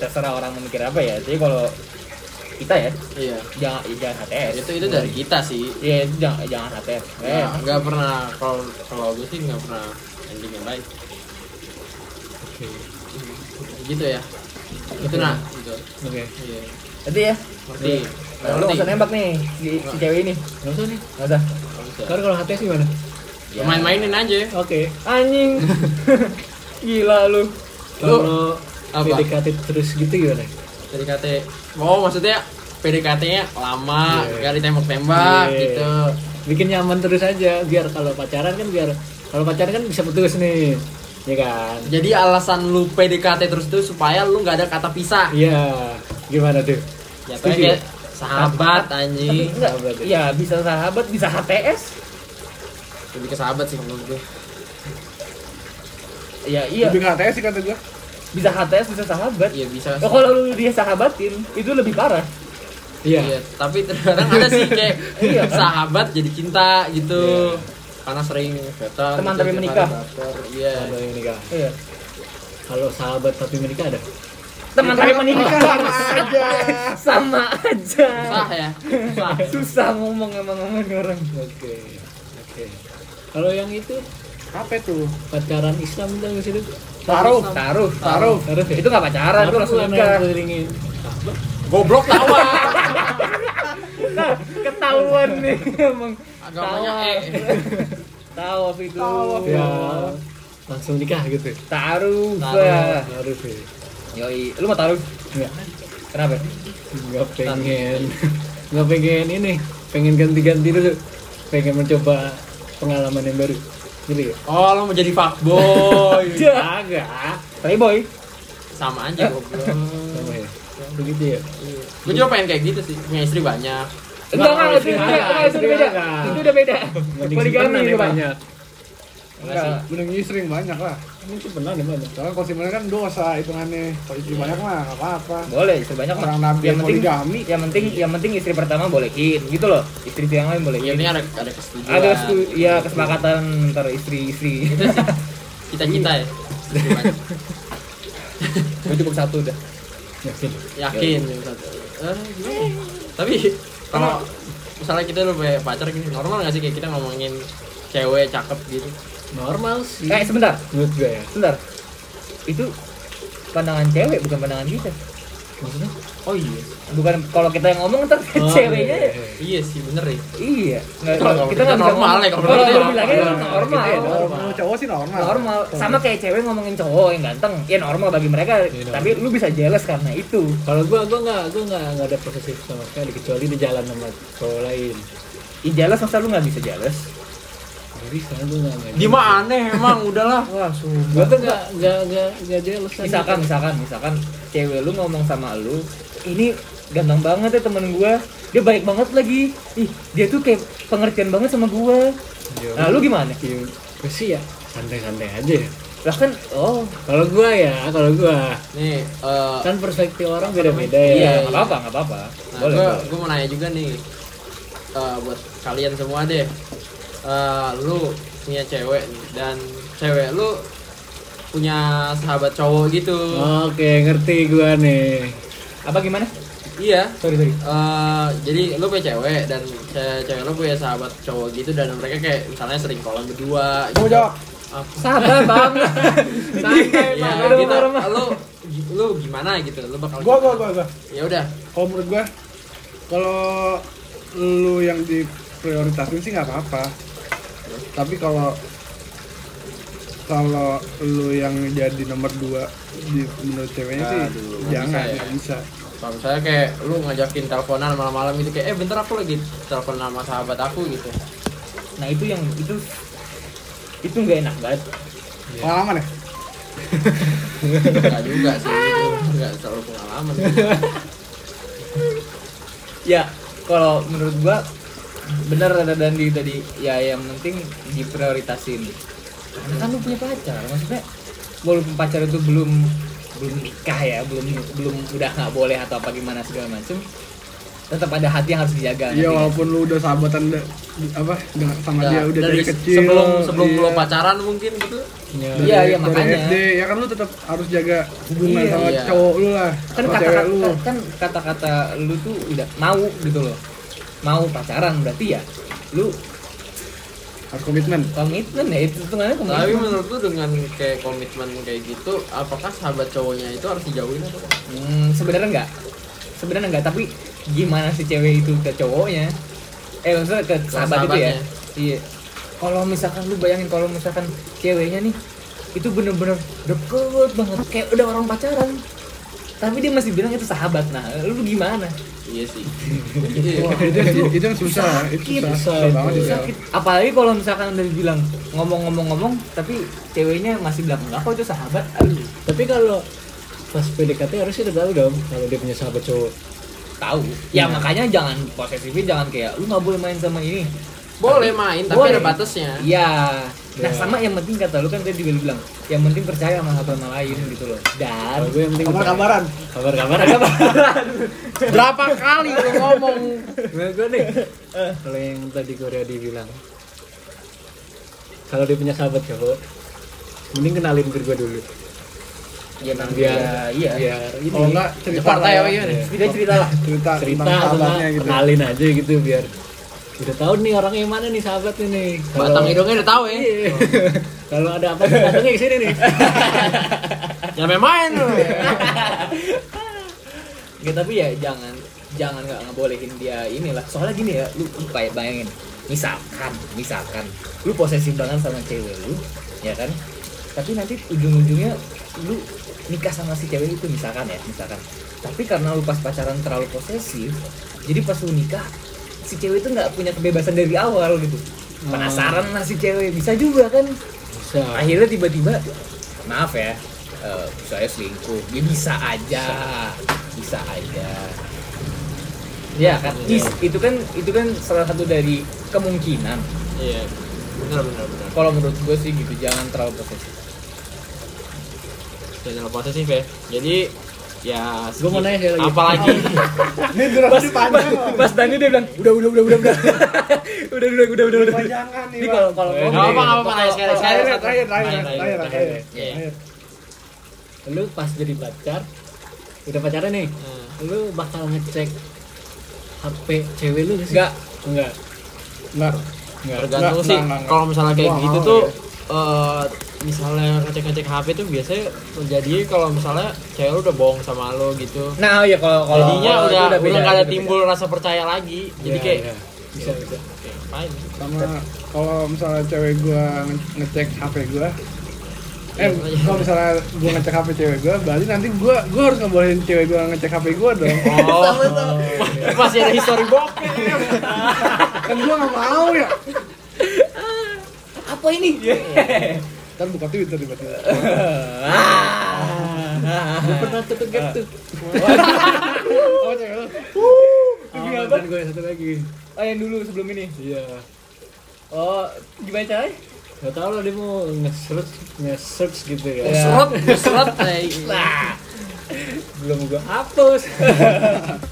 [SPEAKER 2] terserah orang memikir apa ya jadi kalau kita ya
[SPEAKER 3] Iya.
[SPEAKER 2] jangan ya jangan HTS
[SPEAKER 3] Itu itu dari kita sih.
[SPEAKER 2] ya itu jangan jangan HTS eh,
[SPEAKER 3] Ya, nggak pernah kalau kalau gue sih nggak pernah ending yang baik.
[SPEAKER 5] Oke.
[SPEAKER 3] Gitu ya. Itu nah. Gitu.
[SPEAKER 5] Oke.
[SPEAKER 3] Iya.
[SPEAKER 2] nanti ya
[SPEAKER 3] Ngerti.
[SPEAKER 2] nah, lu nggak usah nembak nih si, si cewek ini
[SPEAKER 5] Nggak usah nih.
[SPEAKER 2] nggak usah
[SPEAKER 3] Ngerti.
[SPEAKER 5] Kalau kalau HTS gimana?
[SPEAKER 2] Ya.
[SPEAKER 3] Main-mainin aja.
[SPEAKER 5] Oke.
[SPEAKER 2] anjing gila lu
[SPEAKER 5] Kalau
[SPEAKER 3] apa?
[SPEAKER 5] PDKT terus gitu gimana?
[SPEAKER 3] PDKT oh maksudnya PDKT-nya lama
[SPEAKER 5] Iya.
[SPEAKER 3] nggak ditembak-tembak
[SPEAKER 5] Iya.
[SPEAKER 3] gitu
[SPEAKER 5] Bikin nyaman terus aja biar kalau pacaran kan biar kalau pacaran kan bisa putus nih. Ya kan?
[SPEAKER 3] jadi alasan lu PDKT terus tuh supaya lu nggak ada kata pisah
[SPEAKER 5] Iya. Gimana tuh?
[SPEAKER 3] Jatuhnya
[SPEAKER 5] Setuju.
[SPEAKER 3] kayak sahabat
[SPEAKER 2] tapi
[SPEAKER 3] anjing
[SPEAKER 2] enggak
[SPEAKER 5] sahabat ya.
[SPEAKER 2] ya bisa sahabat bisa HTS
[SPEAKER 3] lebih ke sahabat sih menurut gue
[SPEAKER 2] ya iya
[SPEAKER 4] lebih ke HTS sih kata gua
[SPEAKER 2] bisa HTS bisa sahabat
[SPEAKER 3] iya bisa
[SPEAKER 2] Oh, kalau lu dia sahabatin itu lebih parah
[SPEAKER 5] Iya.
[SPEAKER 3] tapi terkadang ada sih kayak
[SPEAKER 2] Iya.
[SPEAKER 3] sahabat jadi cinta gitu karena sering veteran
[SPEAKER 2] Teman tapi menikah.
[SPEAKER 3] iya
[SPEAKER 5] Kalau yang nikah.
[SPEAKER 2] iya
[SPEAKER 5] Kalau sahabat tapi menikah ada?
[SPEAKER 2] teman tapi menikah
[SPEAKER 4] sama aja
[SPEAKER 2] sama aja
[SPEAKER 3] susah ya susah
[SPEAKER 2] susah ngomong emang ngomong nih orang
[SPEAKER 5] Oke. Oke. Kalau yang itu
[SPEAKER 4] apa itu
[SPEAKER 5] pacaran Islam itu nggak sih? Dut?
[SPEAKER 2] taruh taruh taruh
[SPEAKER 5] Taruh ya?
[SPEAKER 2] itu nggak pacaran itu
[SPEAKER 5] Kenapa
[SPEAKER 2] langsung
[SPEAKER 5] lu aneh
[SPEAKER 2] nikah
[SPEAKER 5] kelilingin?
[SPEAKER 3] goblok tawa
[SPEAKER 2] nah ketahuan nih emang
[SPEAKER 3] agamanya
[SPEAKER 2] Tawa.
[SPEAKER 3] eh
[SPEAKER 2] tahu apa itu
[SPEAKER 4] Tawaf.
[SPEAKER 5] Ya. Langsung nikah gitu.
[SPEAKER 2] taruh Iya.
[SPEAKER 3] Taruh.
[SPEAKER 5] Harus Iya. ya.
[SPEAKER 2] yoi lu mau taruh
[SPEAKER 5] Nggak,
[SPEAKER 2] kenapa
[SPEAKER 5] nggak pengen, nggak pengen ini, pengen ganti-ganti dulu, pengen mencoba pengalaman yang baru, gitu ya?
[SPEAKER 3] oh lo mau jadi fuckboy
[SPEAKER 2] Iya.
[SPEAKER 5] Agak,
[SPEAKER 2] playboy
[SPEAKER 3] sama aja goblok
[SPEAKER 5] sama ya, begitu ya.
[SPEAKER 3] Gue juga pengen kayak gitu sih, punya istri banyak.
[SPEAKER 2] enggak enggak itu
[SPEAKER 5] istri
[SPEAKER 2] beda enggak, itu udah
[SPEAKER 5] enggak, istri
[SPEAKER 2] beda
[SPEAKER 5] enggak.
[SPEAKER 2] itu udah beda
[SPEAKER 5] Mending
[SPEAKER 2] poligami
[SPEAKER 5] simpenan
[SPEAKER 2] itu
[SPEAKER 5] ya
[SPEAKER 2] pak
[SPEAKER 5] banyak,
[SPEAKER 2] enggak
[SPEAKER 4] mending istri yang banyak lah
[SPEAKER 5] ini simpenan ya banyak.
[SPEAKER 4] soalnya kalau istri banyak kan dosa hitungannya kalau istri banyak mah nggak apa-apa
[SPEAKER 2] boleh istri banyak mah
[SPEAKER 4] orang
[SPEAKER 2] yang
[SPEAKER 4] nabi yang
[SPEAKER 2] penting
[SPEAKER 4] poligami
[SPEAKER 2] yang penting yang penting istri pertama bolehin gitu loh istri yang lain
[SPEAKER 3] Iya
[SPEAKER 2] bolehin
[SPEAKER 3] ini ada ada
[SPEAKER 2] gitu.
[SPEAKER 3] kesetujuan.
[SPEAKER 2] ada stu- ya kesepakatan antar istri-istri
[SPEAKER 3] Cita-cita
[SPEAKER 2] Iya.
[SPEAKER 3] ya. Istri banyak.
[SPEAKER 2] gue cukup satu udah
[SPEAKER 5] Yakin?
[SPEAKER 3] Yakin. Eh, gimana? Tapi kalau misalnya kita udah punya pacar gini, normal nggak sih kayak kita ngomongin cewek cakep gitu?
[SPEAKER 5] Normal sih.
[SPEAKER 2] eh sebentar
[SPEAKER 5] Menurut gue ya.
[SPEAKER 2] sebentar itu pandangan cewek bukan pandangan kita
[SPEAKER 5] maksudnya
[SPEAKER 2] Oh iya. Bukan kalau kita yang ngomong ntar
[SPEAKER 5] Oh,
[SPEAKER 2] ceweknya ya?
[SPEAKER 5] iya, iya, iya.
[SPEAKER 3] Iya sih bener ya.
[SPEAKER 2] Iya. Nggak,
[SPEAKER 3] Kalau
[SPEAKER 2] kalau kita
[SPEAKER 3] kita
[SPEAKER 2] nggak bisa
[SPEAKER 3] normal
[SPEAKER 2] ngomong-
[SPEAKER 3] ya, kalau
[SPEAKER 2] Kalau
[SPEAKER 3] kita
[SPEAKER 2] kita
[SPEAKER 3] normal.
[SPEAKER 2] bilangnya
[SPEAKER 5] Iya,
[SPEAKER 2] normal.
[SPEAKER 5] kita ya
[SPEAKER 2] normal.
[SPEAKER 5] normal.
[SPEAKER 4] Kalau cowok sih Eh, normal.
[SPEAKER 2] Normal. Sama kayak cewek ngomongin cowok yang ganteng. Ya normal bagi mereka.
[SPEAKER 5] Iya,
[SPEAKER 2] Tapi lu bisa jealous karena itu.
[SPEAKER 5] kalau gua gua nggak gua nggak nggak ada posesif sama sekali kecuali di jalan sama cowok lain
[SPEAKER 2] Ya jealous masa lu nggak bisa jealous?
[SPEAKER 5] jadi sekarang gua nggak nggak
[SPEAKER 3] Dia mah aneh emang udahlah.
[SPEAKER 2] Wah,
[SPEAKER 5] gua
[SPEAKER 2] sumpah.
[SPEAKER 5] tuh nggak nggak nggak nggak jealous aja.
[SPEAKER 2] misalkan misalkan misalkan cewek lu ngomong sama lu ini ganteng banget ya temen gua dia baik banget lagi ih dia tuh kayak pengertian banget sama gua
[SPEAKER 5] Iya.
[SPEAKER 2] nah lu gimana
[SPEAKER 5] Iya, gua sih ya santai-santai aja ya
[SPEAKER 2] lah kan oh
[SPEAKER 5] kalau gua ya kalau gua
[SPEAKER 3] Nih, eh
[SPEAKER 5] kan perspektif orang beda-beda ya
[SPEAKER 2] iya nggak apa nggak apa apa
[SPEAKER 3] nah,
[SPEAKER 2] boleh
[SPEAKER 3] gue
[SPEAKER 2] boleh.
[SPEAKER 3] gue mau nanya juga nih eh, buat kalian semua deh. Eh, lu punya cewek nih, dan cewek lu punya sahabat cowok gitu.
[SPEAKER 5] oke ngerti gua nih
[SPEAKER 2] apa gimana
[SPEAKER 3] Iya.
[SPEAKER 2] sorry sorry
[SPEAKER 3] Eh, jadi lu punya cewek dan ce- cewek lu punya sahabat cowok gitu dan mereka kayak misalnya sering kolam berdua.
[SPEAKER 4] Gua
[SPEAKER 3] gitu.
[SPEAKER 4] jawab.
[SPEAKER 3] Ah,
[SPEAKER 2] sabar bang santai
[SPEAKER 3] ya,
[SPEAKER 2] bang
[SPEAKER 3] gitu.
[SPEAKER 2] Normal, normal.
[SPEAKER 3] Lu lu gimana gitu? Lu bakal
[SPEAKER 4] Gua gua gua gua.
[SPEAKER 3] Ya udah.
[SPEAKER 4] Kalau menurut gua kalau lu yang diprioritasin sih nggak apa-apa. Tapi kalau kalau lu yang jadi nomor dua di menurut ceweknya sih
[SPEAKER 3] Aduh, nggak
[SPEAKER 4] jangan
[SPEAKER 3] bisa ya.
[SPEAKER 4] nggak bisa.
[SPEAKER 3] Kalau misalnya kayak lu ngajakin teleponan malam-malam gitu kayak eh bentar aku lagi teleponan sama sahabat aku gitu.
[SPEAKER 2] nah itu yang itu itu nggak enak banget
[SPEAKER 4] Pengalaman ya?
[SPEAKER 3] Enggak juga sih gitu. Enggak terlalu pengalaman.
[SPEAKER 2] ya kalau menurut gua benar ada Dandi tadi ya yang penting diprioritasin Karena kan lu punya pacar maksudnya walaupun pacar itu belum belum nikah ya belum belum udah nggak boleh atau apa gimana segala macem tetap ada hati yang harus dijaga
[SPEAKER 4] Iya
[SPEAKER 2] ngerti nggak?
[SPEAKER 4] walaupun lu udah sahabatan da- di- apa dengan sama
[SPEAKER 3] Nah,
[SPEAKER 4] dia udah dari, kecil.
[SPEAKER 3] sebelum sebelum
[SPEAKER 4] iya.
[SPEAKER 3] lu pacaran mungkin gitu.
[SPEAKER 5] Ya,
[SPEAKER 4] Dari-
[SPEAKER 2] Iya, iya,
[SPEAKER 4] dari
[SPEAKER 2] makanya.
[SPEAKER 4] SD ya kan lu tetap harus jaga hubungan
[SPEAKER 2] Iya.
[SPEAKER 4] sama
[SPEAKER 3] Iya.
[SPEAKER 4] cowok lu lah.
[SPEAKER 2] kan
[SPEAKER 4] sama
[SPEAKER 2] kata-kata
[SPEAKER 4] cewek lu.
[SPEAKER 2] kan kata-kata lu tuh udah mau gitu loh mau pacaran berarti ya lu
[SPEAKER 4] Harus komitmen.
[SPEAKER 2] komitmen ya itu hitungannya komitmen
[SPEAKER 3] Tapi menurut lu dengan kayak komitmen kayak gitu, apakah sahabat cowoknya itu harus dijauhin atau enggak?
[SPEAKER 2] Hmm, sebenarnya enggak. Sebenarnya enggak, tapi gimana si cewek itu ke cowoknya? Eh, maksudnya ke sahabat itu ya?
[SPEAKER 3] sahabatnya.
[SPEAKER 2] Iya. Kalau misalkan lu bayangin kalau misalkan ceweknya nih itu bener-bener deket banget kayak udah orang pacaran. Tapi dia masih bilang itu sahabat. Nah, lu gimana?
[SPEAKER 3] Iya sih. Iya.
[SPEAKER 4] itu, itu, itu yang susah, itu
[SPEAKER 2] Sakit,
[SPEAKER 4] susah, susah,
[SPEAKER 5] susah,
[SPEAKER 4] banget
[SPEAKER 5] itu.
[SPEAKER 4] itu. ya.
[SPEAKER 2] Sakit. Apalagi kalau misalkan udah dibilang ngomong-ngomong-ngomong, tapi ceweknya masih bilang enggak kok itu sahabat. Aduh,
[SPEAKER 5] tapi kalau pas PDKT harusnya udah tahu dong kalau dia punya sahabat cowok
[SPEAKER 2] tahu. Ya
[SPEAKER 5] Iya.
[SPEAKER 2] makanya jangan posesifin, jangan kayak lu nggak boleh main sama ini,
[SPEAKER 3] Boleh main tapi
[SPEAKER 2] Boleh.
[SPEAKER 3] ada batasnya.
[SPEAKER 2] Iya. Nah
[SPEAKER 5] Ya.
[SPEAKER 2] sama yang penting kata lu kan tadi juga lu bilang, yang penting percaya sama satu sama lain gitu loh. Dan
[SPEAKER 5] kalau gue yang penting
[SPEAKER 4] Kabar kabaran.
[SPEAKER 5] kabar kabar kabar
[SPEAKER 3] Berapa kali lu ngomong?
[SPEAKER 5] gue nih kalau yang tadi Korea dibilang kalau dia punya sahabat cowok mending kenalin ke gue dulu
[SPEAKER 2] ya nanti
[SPEAKER 5] biar
[SPEAKER 2] ya, iya.
[SPEAKER 5] biar ini
[SPEAKER 4] Kalau enggak cerita
[SPEAKER 3] Jepart
[SPEAKER 4] lah
[SPEAKER 3] ya,
[SPEAKER 4] ya.
[SPEAKER 3] Wei, gimana?
[SPEAKER 2] Cerita cerita lah.
[SPEAKER 4] cerita,
[SPEAKER 5] cerita
[SPEAKER 4] tentang
[SPEAKER 5] sama
[SPEAKER 4] sahabatnya gitu.
[SPEAKER 5] kenalin aja gitu biar udah tahu nih orangnya yang mana nih sahabatnya nih Kalau-
[SPEAKER 3] Batang hidungnya udah tahu ya.
[SPEAKER 5] Iya. kalau ada apa datangnya
[SPEAKER 4] Oh.
[SPEAKER 5] ke sini nih
[SPEAKER 3] Jangan main-main lu.
[SPEAKER 2] Ya, tapi ya jangan jangan nggak ngebolehin dia inilah. Soalnya gini ya, lu lu kayak bayangin. Misalkan, misalkan, lu posesif banget sama cewek lu, ya kan? Tapi nanti ujung-ujungnya lu nikah sama si cewek itu misalkan ya, misalkan. Tapi karena lu pas pacaran terlalu posesif, jadi pas lu nikah si cewek itu nggak punya kebebasan dari awal gitu. Penasaran lah si cewek bisa juga kan?
[SPEAKER 5] bisa
[SPEAKER 2] Akhirnya tiba-tiba, maaf ya, eh, saya selingkuh. Ya bisa aja, bisa aja. Ya kan, Is, itu kan itu kan salah satu dari kemungkinan.
[SPEAKER 3] Iya. Benar benar benar.
[SPEAKER 2] Kalau menurut gue sih gitu, jangan terlalu posesif.
[SPEAKER 3] Jangan terlalu posesif ya. Jadi ya
[SPEAKER 5] Gua mau nanya sekali lagi.
[SPEAKER 3] apalagi
[SPEAKER 4] Ini durasi panjang loh.
[SPEAKER 2] Mas Dani dia bilang, udah udah udah udah udah udah udah udah udah udah.
[SPEAKER 4] Jangan nih.
[SPEAKER 2] Ini
[SPEAKER 4] Bang.
[SPEAKER 2] kalau kalau
[SPEAKER 5] Nggak
[SPEAKER 3] Gak apa-apa, gak apa-apa,
[SPEAKER 2] kalau-
[SPEAKER 3] nanya sekali,
[SPEAKER 2] kalau-
[SPEAKER 3] sekali.
[SPEAKER 4] Terakhir, terakhir, terakhir,
[SPEAKER 3] Terakhir,
[SPEAKER 4] terakhir,
[SPEAKER 5] terakhir.
[SPEAKER 4] terakhir.
[SPEAKER 3] Iya.
[SPEAKER 4] Terakhir.
[SPEAKER 5] lu pas jadi pacar udah pacaran nih
[SPEAKER 3] Hmm.
[SPEAKER 5] lu bakal ngecek HP cewek lu nggak sih?
[SPEAKER 2] Enggak,
[SPEAKER 5] enggak
[SPEAKER 4] Enggak.
[SPEAKER 5] enggak
[SPEAKER 3] tergantung
[SPEAKER 4] Nggak,
[SPEAKER 3] sih
[SPEAKER 4] nggak, nggak.
[SPEAKER 3] kalau misalnya kayak
[SPEAKER 4] Gua
[SPEAKER 3] gitu
[SPEAKER 4] mau
[SPEAKER 3] tuh eh, misalnya ngecek-ngecek HP tuh biasanya terjadi kalau misalnya cewek lu udah bohong sama lo gitu.
[SPEAKER 2] Nah, oh iya kalau kalau
[SPEAKER 3] Jadinya
[SPEAKER 2] kalau itu
[SPEAKER 3] udah udah
[SPEAKER 2] beda,
[SPEAKER 3] nggak ada
[SPEAKER 2] itu beda.
[SPEAKER 3] timbul rasa percaya lagi. Jadi
[SPEAKER 5] Iya,
[SPEAKER 3] kayak
[SPEAKER 5] iya. bisa bisa
[SPEAKER 3] kayak ngapain?
[SPEAKER 4] sama kalau misalnya cewek gua nge- ngecek HP gua eh
[SPEAKER 3] Iya, iya.
[SPEAKER 4] kalau misalnya gua ngecek HP cewek gua berarti nanti gua gua harus ngebolehin cewek gua ngecek HP gua dong
[SPEAKER 3] Oh, masih ada history bokep.
[SPEAKER 4] kan gua nggak mau ya
[SPEAKER 2] Apa ini?
[SPEAKER 4] kan buka Twitter tiba-tiba
[SPEAKER 5] gue Ah. pernah tuh gap tuh
[SPEAKER 4] oh cewek lu
[SPEAKER 2] Demi
[SPEAKER 5] oh,
[SPEAKER 2] apa?
[SPEAKER 5] dan gue yang satu lagi
[SPEAKER 2] Oh, yang dulu sebelum ini.
[SPEAKER 5] iya
[SPEAKER 2] Oh, gimana caranya?
[SPEAKER 5] Gak tau lah dia mau nge-search nge-search gitu
[SPEAKER 2] Iya.
[SPEAKER 5] ya
[SPEAKER 3] Serot, serot. eh,
[SPEAKER 2] Lah,
[SPEAKER 5] belum gue hapus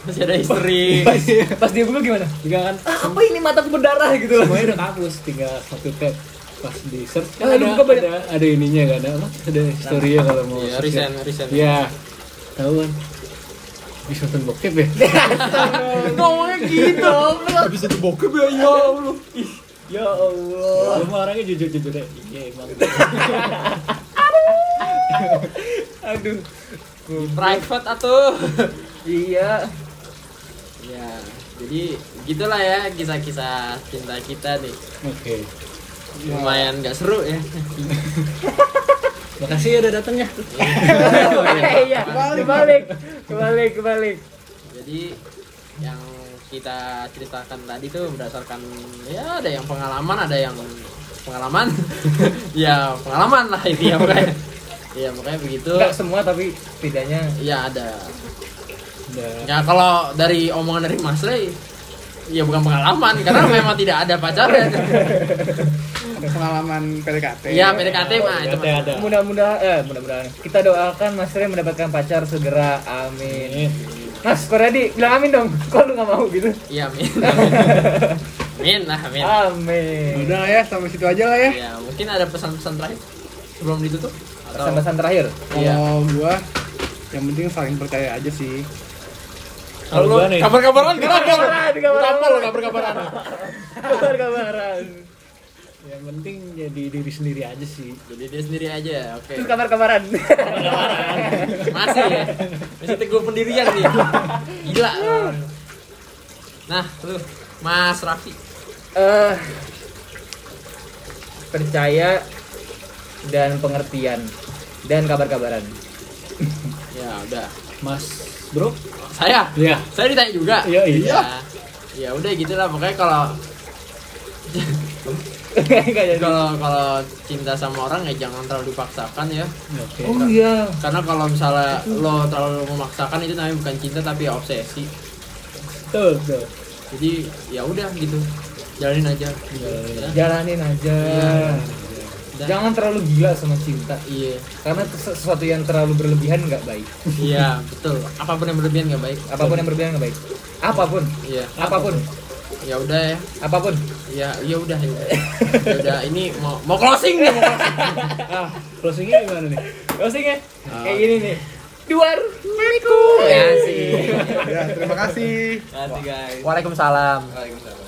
[SPEAKER 3] Masih ada history.
[SPEAKER 2] pas, pas dia buka gimana?
[SPEAKER 5] juga kan
[SPEAKER 2] Ah, apa ini mataku berdarah gitu.
[SPEAKER 5] semuanya udah hapus tinggal satu tab pas di search kan
[SPEAKER 2] Ah,
[SPEAKER 5] ada,
[SPEAKER 2] lu buka banyak.
[SPEAKER 5] ada, ada ininya kan ada apa? ada historinya kalau mau
[SPEAKER 3] Iya,
[SPEAKER 5] search
[SPEAKER 3] resign,
[SPEAKER 5] ya.
[SPEAKER 3] resign.
[SPEAKER 5] Iya, tahu kan bisa nonton bokep ya
[SPEAKER 2] Ngomongnya gitu.
[SPEAKER 3] Habis itu bokep ya, ya Allah.
[SPEAKER 2] Ya Allah.
[SPEAKER 5] lu mah orangnya jujur jujur deh iya emang
[SPEAKER 2] Aduh.
[SPEAKER 3] Private atuh.
[SPEAKER 2] Iya.
[SPEAKER 3] Ya, jadi gitulah ya kisah-kisah cinta kita nih.
[SPEAKER 5] oke
[SPEAKER 3] Lumayan nggak seru ya.
[SPEAKER 5] makasih ya udah datang ya
[SPEAKER 2] Iya, kebalik, kebalik, kebalik, kebalik.
[SPEAKER 3] jadi yang kita ceritakan tadi tuh berdasarkan ya ada yang pengalaman, ada yang pengalaman. ya, pengalaman lah itu ya pokoknya. Ya pokoknya begitu.
[SPEAKER 2] Enggak semua tapi setidaknya
[SPEAKER 3] Ya ada.
[SPEAKER 5] udah
[SPEAKER 3] Ya kalau dari omongan dari Mas Lei ya bukan pengalaman karena memang tidak ada pacarnya.
[SPEAKER 4] ada pengalaman PDKT
[SPEAKER 3] ya PDKT mah itu.
[SPEAKER 5] ada
[SPEAKER 3] Mas.
[SPEAKER 5] ada
[SPEAKER 2] mudah-mudahan eh mudah-mudahan kita doakan Mas Rey mendapatkan pacar segera. Amin.
[SPEAKER 5] Ini.
[SPEAKER 2] Mas Koredi, bilang amin dong. Kok lu nggak mau gitu?
[SPEAKER 3] Iya, amin. Amin lah,
[SPEAKER 2] Iya.
[SPEAKER 3] amin.
[SPEAKER 2] Amin.
[SPEAKER 4] udah lah ya sampai situ aja lah ya
[SPEAKER 3] Ya, mungkin ada pesan-pesan terakhir sebelum ditutup atau
[SPEAKER 2] Pesan-pesan terakhir.
[SPEAKER 3] Iya.
[SPEAKER 4] kalau gua yang penting saling percaya aja sih
[SPEAKER 5] Kalau
[SPEAKER 3] Kalau
[SPEAKER 5] gua nih.
[SPEAKER 3] kabar-kabaran kenapa lu?
[SPEAKER 2] Kabaran, kabaran.
[SPEAKER 3] Kenapa lu kabar-kabaran?
[SPEAKER 2] Kabar-kabaran.
[SPEAKER 5] yang penting jadi diri sendiri aja sih
[SPEAKER 3] Jadi dia sendiri aja, oke.
[SPEAKER 2] Terus kabar-kabaran.
[SPEAKER 3] Masih ya. Masih teguh pendirian nih. Gila. lu. Nah, lu Mas Raffi.
[SPEAKER 2] Eh, percaya dan pengertian dan kabar-kabaran.
[SPEAKER 3] Ya, udah.
[SPEAKER 5] mas bro
[SPEAKER 3] Saya.
[SPEAKER 5] ya
[SPEAKER 3] Saya ditanya juga.
[SPEAKER 5] Iya, iya.
[SPEAKER 3] Ya, ya udah gitu lah pokoknya kalau
[SPEAKER 2] Nggak jadi.
[SPEAKER 3] kalau kalau cinta sama orang ya jangan terlalu dipaksakan ya.
[SPEAKER 5] oke
[SPEAKER 2] Oh iya.
[SPEAKER 3] Karena kalau misalnya lo terlalu memaksakan itu namanya bukan cinta tapi ya obsesi.
[SPEAKER 5] tuh tuh
[SPEAKER 3] Jadi ya udah gitu. Jalanin aja gitu.
[SPEAKER 5] Iya.
[SPEAKER 3] Ya.
[SPEAKER 2] Jalanin aja. iya,
[SPEAKER 3] Dah.
[SPEAKER 2] Jangan terlalu gila sama cinta.
[SPEAKER 3] Iya,
[SPEAKER 2] Karena sesuatu yang terlalu berlebihan nggak baik.
[SPEAKER 3] iya betul. Apapun yang berlebihan nggak baik.
[SPEAKER 2] Apapun yang berlebihan nggak baik. Apapun,
[SPEAKER 3] Iya,
[SPEAKER 2] apapun,
[SPEAKER 3] ya udah ya,
[SPEAKER 2] apapun.
[SPEAKER 3] ya ya udah ya. Ya udah ini mau mau closing nih. Mau closing.
[SPEAKER 5] ah closingnya gimana nih
[SPEAKER 2] Closingnya
[SPEAKER 3] Ah.
[SPEAKER 2] kayak gini nih. Duar, miku.
[SPEAKER 3] Ya sih.
[SPEAKER 4] Iya ya terima kasih
[SPEAKER 3] Nanti guys.
[SPEAKER 2] Waalaikumsalam.
[SPEAKER 3] Waalaikumsalam.